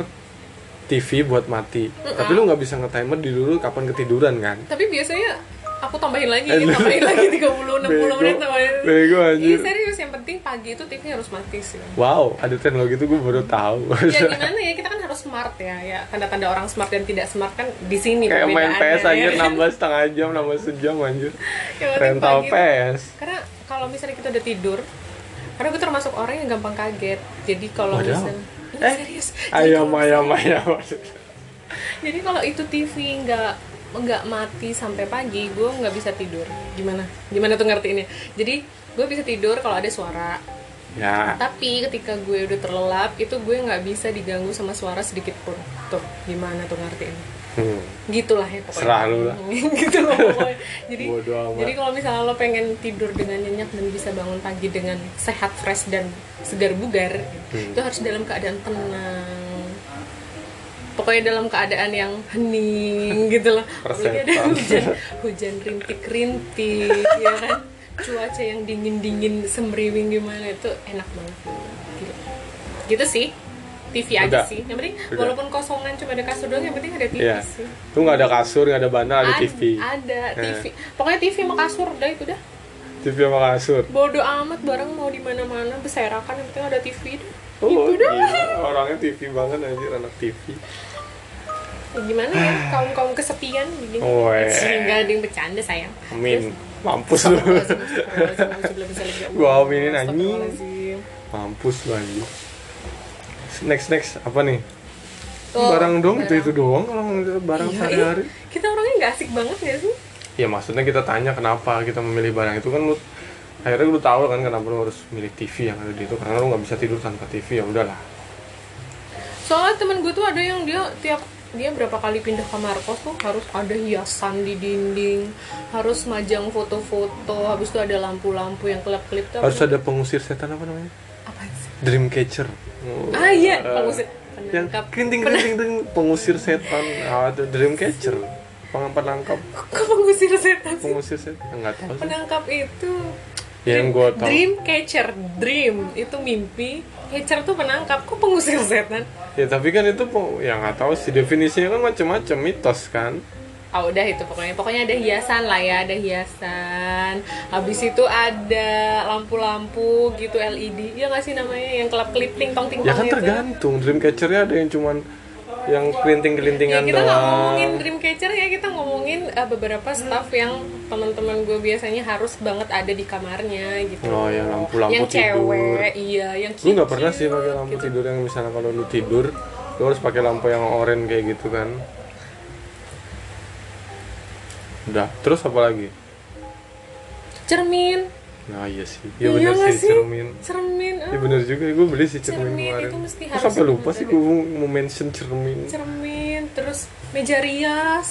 TV buat mati tapi lu nggak bisa nge-timer di dulu kapan ketiduran kan tapi biasanya aku tambahin lagi Eh, tambahin lagi 30 60 menit tambahin bego Iya anjir serius yang penting pagi itu TV harus mati sih wow ada teknologi itu gue baru tahu ya gimana ya kita kan harus smart ya ya tanda-tanda orang smart dan tidak smart kan di sini kayak main perbedaannya, PS anjir ya. nambah setengah jam nambah sejam anjir Yang penting rental pagi tuh- PS karena kalau misalnya kita udah tidur karena gue termasuk orang yang gampang kaget jadi kalau Waduh. Eh. misalnya Ini serius Jadi ayam kalau- ayam ayam jadi kalau itu TV nggak nggak mati sampai pagi gue nggak bisa tidur gimana gimana tuh ngertiinnya jadi gue bisa tidur kalau ada suara ya tapi ketika gue udah terlelap itu gue nggak bisa diganggu sama suara sedikit pun tuh gimana tuh ngertiin hmm. gitulah ya pokoknya Serah lu lah. gitu loh pokoknya jadi Bodo amat. jadi kalau misalnya lo pengen tidur dengan nyenyak dan bisa bangun pagi dengan sehat fresh dan segar bugar Hmm. itu harus dalam keadaan tenang pokoknya dalam keadaan yang hening gitu loh apalagi ada Persetan. hujan hujan rintik rintik ya kan cuaca yang dingin dingin semriwing gimana itu enak banget Gila. gitu sih TV Udah. aja sih yang penting Udah. walaupun kosongan cuma ada kasur doang yang penting ada TV Iya. sih Lu nggak ada kasur, nggak ada bantal, ada Nah. Ad- TV. Ada TV. Pokoknya TV sama kasur udah itu dah. TV sama kasur. Bodoh amat barang mau di mana-mana berserakan yang penting ada TV dah. Oh, gila. Orangnya TV banget anjir anak TV. Ya gimana ya kaum-kaum kesepian begini. Weh. eh. Sehingga ada yang bercanda sayang. Amin. Mampus lu. Gua aminin, anjing. Mampus lu anjir. Next next apa nih? Oh, barang dong itu itu doang kalau ngeliat barang Iya, sehari-hari. Kita orangnya nggak asik banget ya sih? Ya maksudnya kita tanya kenapa kita memilih barang itu kan lu akhirnya lu tahu kan kenapa lu harus milih TV yang ada di itu karena lu nggak bisa tidur tanpa TV ya udahlah. Soalnya temen gue tuh ada yang dia tiap dia berapa kali pindah kamar kos tuh harus ada hiasan di dinding, harus majang foto-foto, habis itu ada lampu-lampu yang kelap-kelip tuh. Harus ada pengusir setan apa namanya? Apa sih? Dreamcatcher. Oh. Ah iya, pengusir yang penangkap. kerinting kerinting kerinting pengusir setan ah itu dreamcatcher penangkap Kok pengusir setan sih? pengusir setan nggak tahu sih Penangkap itu Ya, yang gue tahu dream catcher, dream itu mimpi, catcher tuh penangkap. Kok pengusir setan? ya tapi kan itu peng- ya nggak tahu sih definisinya kan macam-macam mitos kan Ah udah itu pokoknya pokoknya ada hiasan lah ya ada hiasan habis itu ada lampu-lampu gitu LED ya nggak sih namanya yang kelap kelipting tong ting ya kan tong itu tergantung dreamcatchernya ada yang cuman yang kerinting ya kelintingan kita nggak ngomongin doang dreamcatcher ya kita ngomongin eh, beberapa staff Hmm. yang teman-teman gue biasanya harus banget ada di kamarnya gitu Oh, ya, lampu-lampu yang cewek tidur. iya yang lu nggak kiki. pernah sih pakai lampu gitu. tidur yang misalnya kalau lu tidur lu harus pakai lampu yang oranye kayak gitu kan udah terus apa lagi cermin Nah iya sih, iya bener Iya nggak sih sih? cermin cermin ah. Iya bener juga, gue beli sih cermin, Cermin kemarin itu mesti Kok harus sampai lupa ada. sih gue mau mention cermin cermin terus meja rias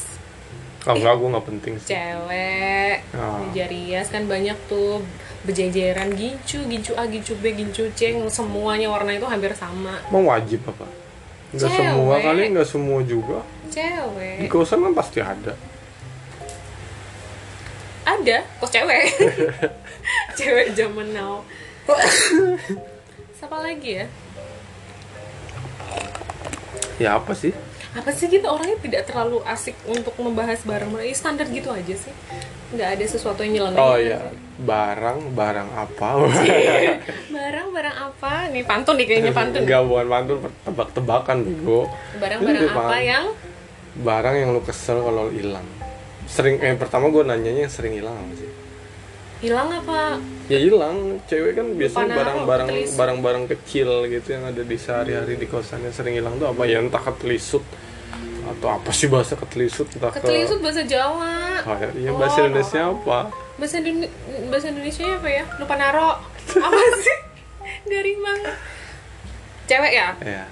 Ah enggak, gue gak penting sih cewek Ah. meja rias kan banyak tuh berjejeran gincu gincu A gincu B gincu C semuanya warna itu hampir sama Emang wajib apa? Gak Cewek. Eh. semua kali, gak semua juga Di cewek kosan kan pasti ada ada kok cewek cewek zaman now siapa lagi ya Ya apa sih? apa sih kita orangnya tidak terlalu asik untuk membahas barang-barang Ih, standar gitu aja sih nggak ada sesuatu yang nyeleneh Oh iya, barang, barang apa? barang-barang apa nih pantun nih kayaknya Iya, pantun Iya, Enggak, bukan pantun, tebak-tebakan bego Ini barang-barang apa ya? pantun. yang Barang yang lu kesel kalau hilang Sering, eh pertama gue nanyanya yang sering hilang apa sih? hilang apa ya hilang cewek kan biasanya Panah, barang-barang ketelisut. barang-barang kecil gitu yang ada di sehari-hari di kosannya sering hilang tuh apa ya entah ketelisut atau apa sih bahasa ketelisut entah ketelisut ke bahasa Jawa Oh, ya, ya, Oh, bahasa Indonesia apa bahasa Indone- bahasa Indonesia apa ya lupa naro apa sih dari mana cewek ya ya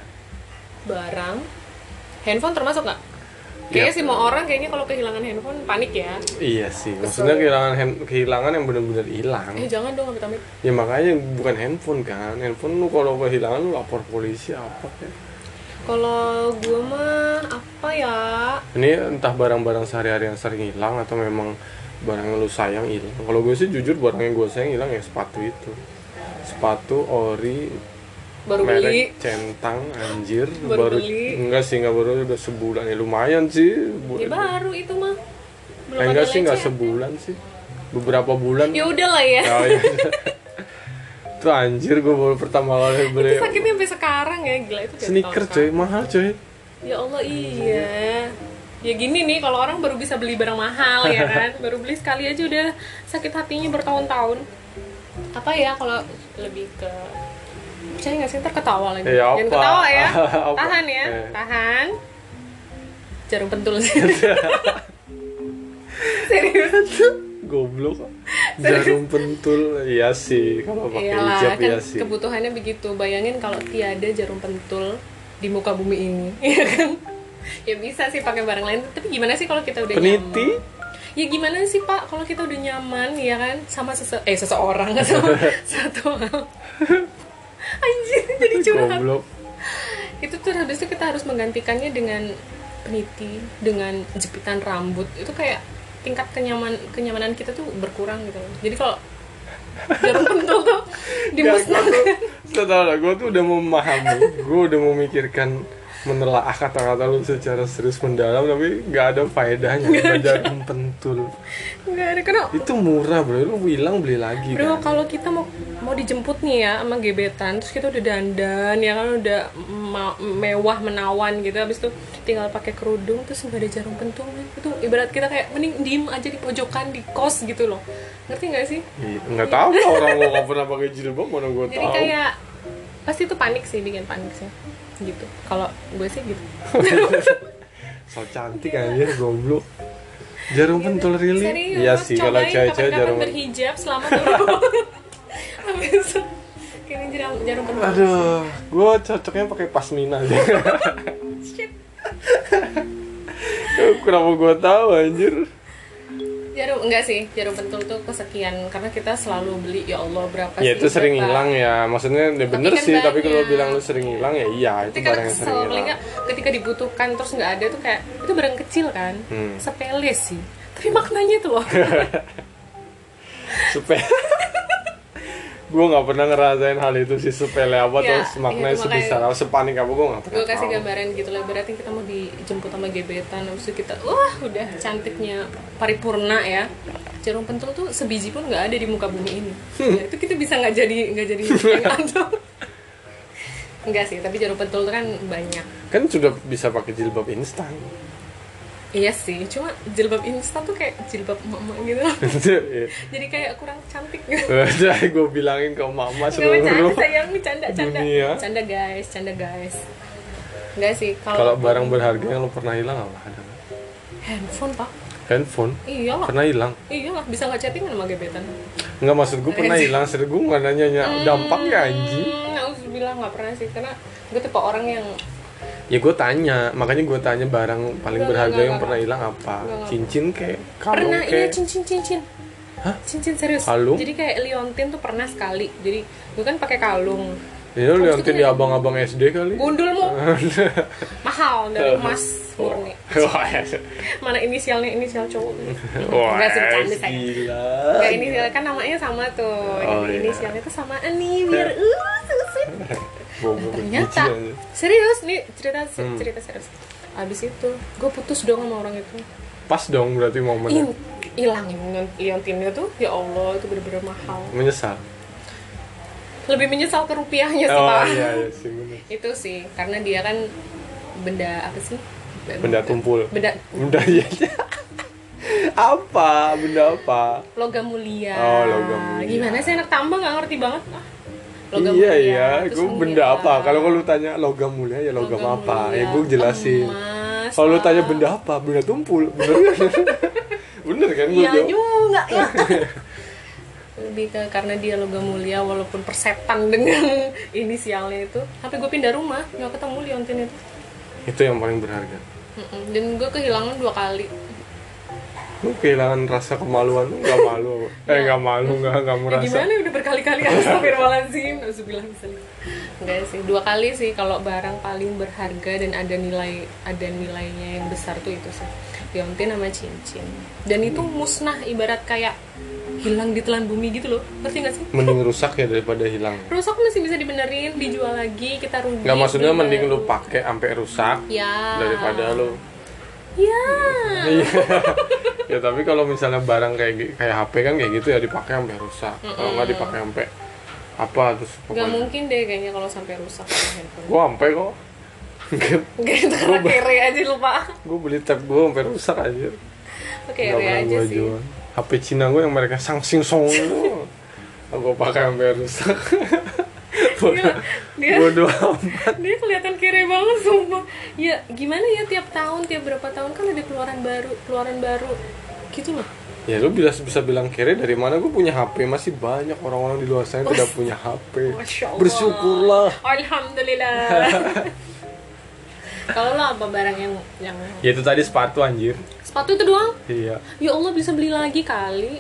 barang handphone termasuk nggak kayaknya Iya. sih mau orang kayaknya kalau kehilangan handphone panik ya iya sih maksudnya kehilangan hand- kehilangan yang benar-benar hilang eh jangan dong amit-amit ya makanya bukan handphone kan handphone lu kalau kehilangan lu lapor polisi apa ya kalau gue mah apa ya ini entah barang-barang sehari-hari yang sering hilang atau memang barang yang lu sayang hilang kalau gue sih jujur barang yang gue sayang hilang ya sepatu itu sepatu ori baru beli merek centang anjir Baru beli. enggak sih enggak baru udah sebulan ya lumayan sih buat ya baru itu mah Eh, enggak sih enggak lecehan. sebulan sih beberapa bulan ya udah lah ya Oh, iya. itu anjir gue baru pertama kali beli itu sakitnya sampai sekarang ya gila itu dari Iya. sneaker tahun cuy mahal cuy Ya Allah iya. Ya gini nih kalau orang baru bisa beli barang mahal ya kan, baru beli sekali aja udah sakit hatinya bertahun-tahun. Apa ya kalau lebih ke percaya nggak sih ntar ketawa lagi. Ya, Jangan apa? ketawa ya. Apa? Tahan ya, Eh. tahan. Jarum pentul sih. Serius. goblok jarum pentul iya sih kalau pakai Iyalah, hijab kan iya sih kebutuhannya begitu. Bayangin kalau tiada jarum pentul di muka bumi ini, ya kan? Ya bisa sih pakai barang lain, tapi gimana sih kalau kita udah peniti nyaman? Ya gimana sih Pak kalau kita udah nyaman ya kan sama sese eh seseorang sama satu hal. Anjir, jadi curhat. goblok Itu tuh habis itu kita harus menggantikannya dengan peniti, dengan jepitan rambut. Itu kayak tingkat kenyaman kenyamanan kita tuh berkurang gitu. loh. Jadi kalau jarum pentul tuh dimusnahkan. setelah gue tuh udah memahami gue udah memikirkan menelaah kata-kata lu secara serius mendalam tapi nggak ada faedahnya Ada jarum pentul Enggak ada karena itu murah bro lu bilang beli lagi Bro, kan kalau kita mau mau dijemput nih ya sama gebetan, terus kita udah dandan ya kan udah ma- mewah menawan gitu, habis itu tinggal pakai kerudung terus nggak ada jarum pentul men. itu ibarat kita kayak mending diem aja di pojokan di kos gitu loh, ngerti nggak sih? Ih, Iya, nggak tahu lah orang gua nggak pernah pakai jilbab mana gue Jadi tahu kayak pasti itu panik sih bikin panik sih, gitu. Kalau gue sih gitu. so cantik anjir goblok jarum pentul really Serius, iya sih kalau cobain cewek-cewek kapan-kapan jarum berhijab selama dulu. Habis itu kini jarum jarum pentul. aduh gue cocoknya pakai pasmina aja Shit. kenapa gue tahu anjir jarum enggak sih jarum pentul tuh kesekian karena kita selalu beli ya Allah berapa ya sih, itu sering berapa. hilang ya maksudnya ya bener kan sih tapi kalau banyak. bilang lu sering hilang ya iya itu barang Nanti kalau yang kesel sering paling hilang enggak ketika dibutuhkan terus nggak ada tuh kayak itu barang kecil kan Hmm. sepele sih tapi maknanya tuh loh supaya gue nggak pernah ngerasain hal itu sih sepele apa Ya, terus maknanya itu makanya. sebesar apa sepanik apa gue nggak pernah gue kasih tahu. gambaran gitu lah berarti kita mau dijemput sama gebetan habis itu kita wah udah cantiknya paripurna ya jarum pentul tuh sebiji pun nggak ada di muka bumi ini Ya, itu kita bisa nggak jadi nggak jadi enggak sih tapi jarum pentul tuh kan banyak kan sudah bisa pakai jilbab instan Iya sih, cuma jilbab instan tuh kayak jilbab emak gitu. Iya. Jadi kayak kurang cantik gitu. udah gue bilangin ke mama Gak bercanda, seluruh sayang, canda, canda. dunia. Canda guys, canda guys. Enggak sih, kalau kalau barang berharga yang lu pernah hilang apa ada nggak? handphone, Pak. handphone iyalah pernah Hmm? hilang iyalah bisa nggak chatting sama gebetan nggak maksud gue pernah hilang serius gue nggak nanya nanya dampaknya anjing hmm, nauzubillah nggak pernah sih karena gue tipe orang yang ya gue tanya makanya gue tanya barang paling Nggak, berharga nggak, yang nggak, pernah hilang apa Nggak, nggak. cincin kayak pernah kalung iya kayak cincin cincin Hah? cincin serius Kalung? jadi kayak liontin tuh pernah sekali jadi gue kan pakai kalung ini Ya, lu Terus liatin kita- di abang-abang SD kali gundulmu Eh. mahal dari emas murni Wah, ya. mana inisialnya inisial cowok wah, Nggak sih, bercanda, saya. gila. Gak inisial kan namanya sama tuh Oh, Jadi iya. inisialnya tuh samaan nih biar uh susit Bobo ternyata biji aja. serius nih cerita Iya, Hmm. cerita serius abis itu gue putus dong sama orang itu Pas dong berarti Ih, momennya. hilang Leon- liontinnya tuh ya allah itu bener-bener mahal Menyesal. lebih menyesal ke rupiahnya sih Oh pak iya, iya sih bener. itu sih karena dia kan benda apa sih Benda tumpul. benda Benda iya. apa? Benda apa? logam mulia Oh, logam mulia. gimana sih anak tambah nggak ngerti banget ah, logam iya mulia, iya, terus gue mulia. benda apa? Kalau lu tanya logam mulia ya logam, apa? mulia, Ya gue jelasin. emas, Kalau lu lah. tanya benda apa? Benda tumpul. Bener kan? bener kan gue iya juga ya lebih ke karena dia logam mulia walaupun persetan dengan inisialnya itu tapi gue pindah rumah nggak ketemu Liontin itu Itu yang paling berharga. Mm-mm. dan gue kehilangan dua kali Lu kehilangan rasa kemaluan lu nggak malu. eh nggak malu nggak nggak ya merasa. Iya. gimana udah berkali-kali astagfirullahaladzim Astagfirullahaladzim enggak sih dua kali sih kalau barang paling berharga dan ada nilai ada nilainya yang besar tuh itu sih liontin sama cincin dan itu Hmm. musnah ibarat kayak hilang di telan bumi gitu loh ngerti gak sih Mending rusak ya daripada hilang. rusak masih bisa dibenerin dijual lagi kita rugi Nggak maksudnya beli mending lu baru. pakai sampai rusak ya daripada lu ya Iya. ya tapi kalau misalnya barang kayak gi- kayak HP kan kayak gitu ya dipakai sampai rusak. Kalau nggak dipakai sampai apa terus nggak pokoknya. mungkin deh kayaknya kalau sampai rusak handphone Gua sampai kok. Nggak, itu karena kere aja lupa gue beli tab gue sampai rusak aja. oke Nggak kere pernah Iya, aja gua sih jual. HP Cina gue yang mereka sang sing song. Aku pakai sampai rusak. Gila, dia Bodoh amat. dia kelihatan kere banget sumpah ya gimana ya tiap tahun tiap berapa tahun kan ada keluaran baru keluaran baru gitu loh Ya lu bisa bisa bilang kere dari mana gue punya HP masih banyak orang-orang di luar sana yang tidak punya HP. Masya Allah. Bersyukurlah. alhamdulillah kalau lo apa barang yang yang Ya itu tadi sepatu anjir. sepatu itu doang Iya. ya Allah bisa beli lagi kali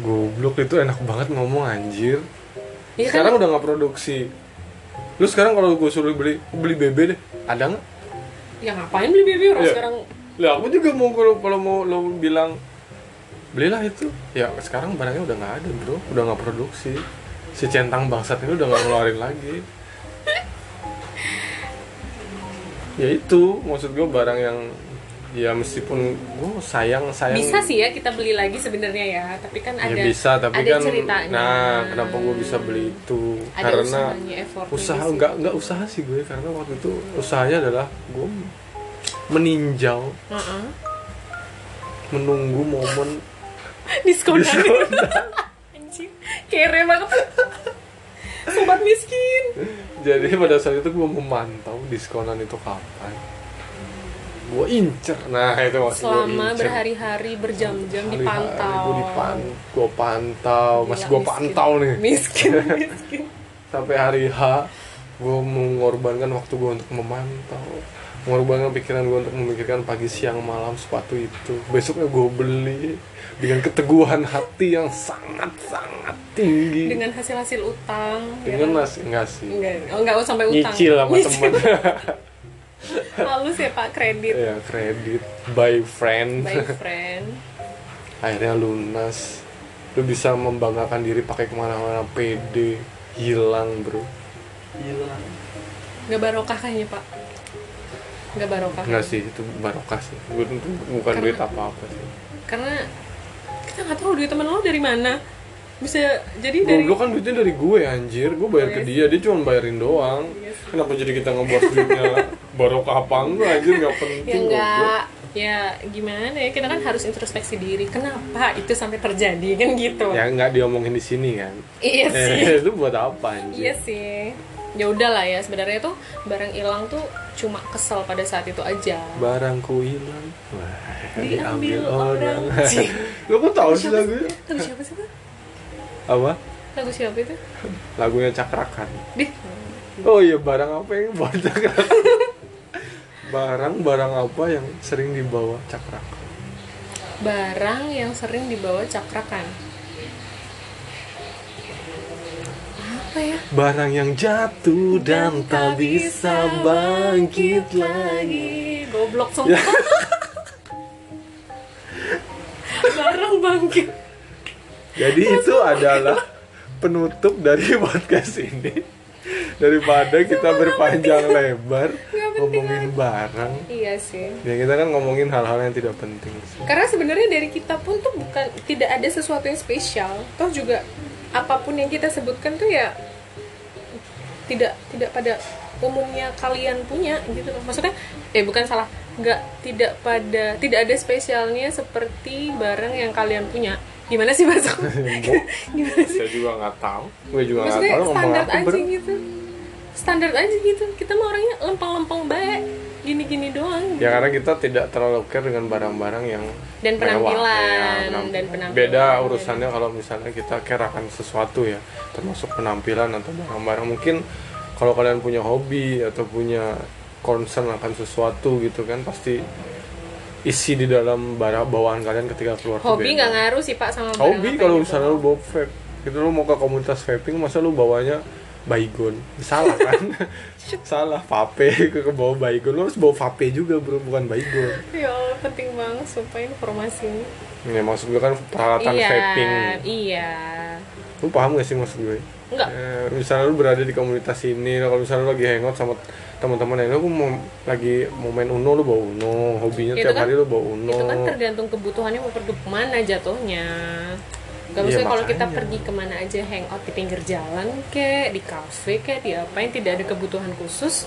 Goblok itu enak banget ngomong anjir. ya sekarang kan udah nggak produksi. Lu sekarang kalau gue suruh beli beli BB deh, ada nggak? ya ngapain beli BB orang Iya. sekarang Lah aku juga mau kalau kalau mau lo bilang belilah itu. Ya sekarang barangnya udah nggak ada bro, udah nggak produksi. Si centang bangsat ini udah nggak ngeluarin lagi. ya itu maksud gue barang yang ya meskipun gue sayang sayang bisa sih ya kita beli lagi sebenarnya ya tapi kan Iya. ya ada bisa tapi ada kan ceritanya. nah kenapa gue bisa beli itu ada karena usahanya effortnya usaha di situ. nggak nggak usaha sih gue karena waktu itu usahanya adalah gue meninjau Heeh. menunggu momen diskonan anjir kere banget sobat miskin jadi pada saat itu gue memantau diskonan itu kapan gue incer nah itu maksud gue selama berhari-hari berjam-jam dipantau gue dipantau gue pantau Gila, masih gue miskin. pantau nih miskin miskin sampai hari H gue mengorbankan waktu gue untuk memantau mengorbankan pikiran gue untuk memikirkan pagi siang malam sepatu itu besoknya gue beli dengan keteguhan hati yang sangat sangat tinggi dengan hasil hasil utang ya dengan kan? mas enggak sih enggak oh, enggak sampai utang nyicil sama temen halus ya pak kredit ya kredit by friend by friend akhirnya lunas lu bisa membanggakan diri pakai kemana-mana pede hilang bro hilang nggak barokah kayaknya pak nggak barokah enggak sih itu barokah sih Gua- itu bukan Karena- duit apa-apa sih karena kita nggak tahu duit temen lo dari mana bisa jadi Iya, dari Goblok kan duitnya dari gue anjir, gue bayar ke Oh, dia, dia cuma bayarin doang. Iya sih. Kenapa jadi kita ngebahas duitnya barokah apa enggak anjir nggak penting goblok. ya enggak ya gimana ya kita kan harus introspeksi diri kenapa itu sampai terjadi kan gitu Ya enggak diomongin di sini kan. iya sih Eh, itu buat apa anjir? iya sih ya udahlah ya sebenarnya tuh barang hilang tuh cuma kesel pada saat itu aja barangku hilang Wah, Diambil orang. lu kok tahu sih Siapa lagunya lagu siapa sih tuh? apa lagu siapa itu lagunya cakrakan deh oh iya barang apa yang bawa cakrakan barang barang apa yang sering dibawa cakrakan barang yang sering dibawa cakrakan apa ya barang yang jatuh dan tak bisa bangkit lagi goblok sumpah barang bangkit Jadi itu adalah penutup dari podcast ini. Daripada kita berpanjang lebar penting ngomongin barang. iya sih Ya kita kan ngomongin hal-hal yang tidak penting sih. karena sebenarnya dari kita pun tuh bukan tidak ada sesuatu yang spesial toh juga apapun yang kita sebutkan tuh ya tidak tidak pada umumnya kalian punya gitu loh maksudnya eh bukan salah nggak tidak pada tidak ada spesialnya seperti barang yang kalian punya gimana sih mas gimana sih Saya juga nggak tahu. Gue juga nggak maksudnya tahu ngomong standar apa aja ber. gitu standar aja gitu kita mah orangnya lempeng-lempeng baik gini-gini doang Ya karena kita tidak terlalu care dengan barang-barang yang Dan mewah. penampilan, Ya, dan penampilan. Beda urusannya kalau misalnya kita care akan sesuatu ya, termasuk penampilan atau barang-barang. Mungkin kalau kalian punya hobi atau punya concern akan sesuatu gitu kan pasti isi di dalam barang bawaan kalian ketika keluar tuh hobi beda. nggak ngaruh sih pak sama barang hobi apa kalau yang gitu? misalnya lu bawa vape gitu lu mau ke komunitas vaping masa lu bawanya baygon salah kan salah vape ke ke bawah baygon lu harus bawa vape juga bro bukan baygon Ya Allah, penting banget sumpah informasi ini. ya maksud gue kan peralatan iya, vaping iya. lu paham gak sih maksud gue Enggak. Eh, misalnya lu berada di komunitas ini kalau misalnya lu lagi hangout sama teman-teman yang lu mau lagi mau main uno lu bawa uno hobinya Itu tiap kan- hari lu bawa uno Itu kan tergantung kebutuhannya mau pergi kemana jatuhnya. Iya, Gak maksudnya kalau kita makanya. pergi kemana aja hangout di pinggir jalan kek, di kafe kek, di apa yang tidak ada kebutuhan khusus,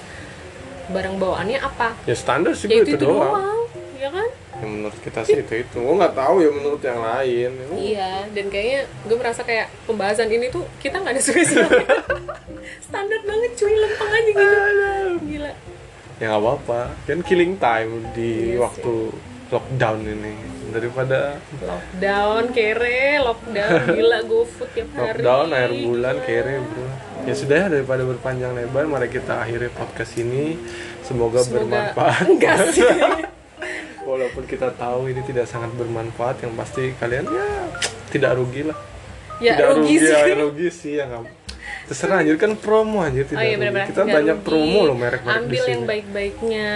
barang bawaannya apa? ya standar sih Ya gue itu, itu doang. doang, ya kan? yang menurut kita sih itu itu gue nggak tahu ya menurut yang lain Lu Iya, dan kayaknya gue merasa kayak pembahasan ini tuh kita nggak ada spesial. Standar banget cuy, lempeng aja gitu. Gila. ya nggak apa-apa kan killing time di Iya sih. waktu lockdown ini daripada Lockdown kere, lockdown gila GoFood tiap hari. lockdown air bulan Gila. kere bro ya sudah ya, daripada berpanjang lebar mari kita akhiri podcast ini semoga, Semoga- bermanfaat Enggak sih. walaupun kita tahu ini tidak sangat bermanfaat yang pasti kalian ya tidak rugi lah ya tidak rugi sih. ya rugi sih ya nggak terserah anjir kan promo anjir tidak oh rugi. iya benar-benar. kita Enggak banyak rugi. promo loh merek-merek di Ambil yang sini. baik-baiknya.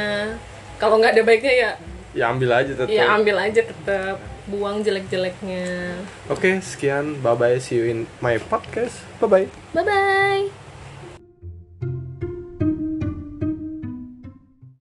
Kalau nggak ada baiknya ya ya ambil aja tetap ya ambil aja tetap buang jelek-jeleknya. Oke, sekian. Bye bye. See you in my podcast. Bye bye. Bye bye.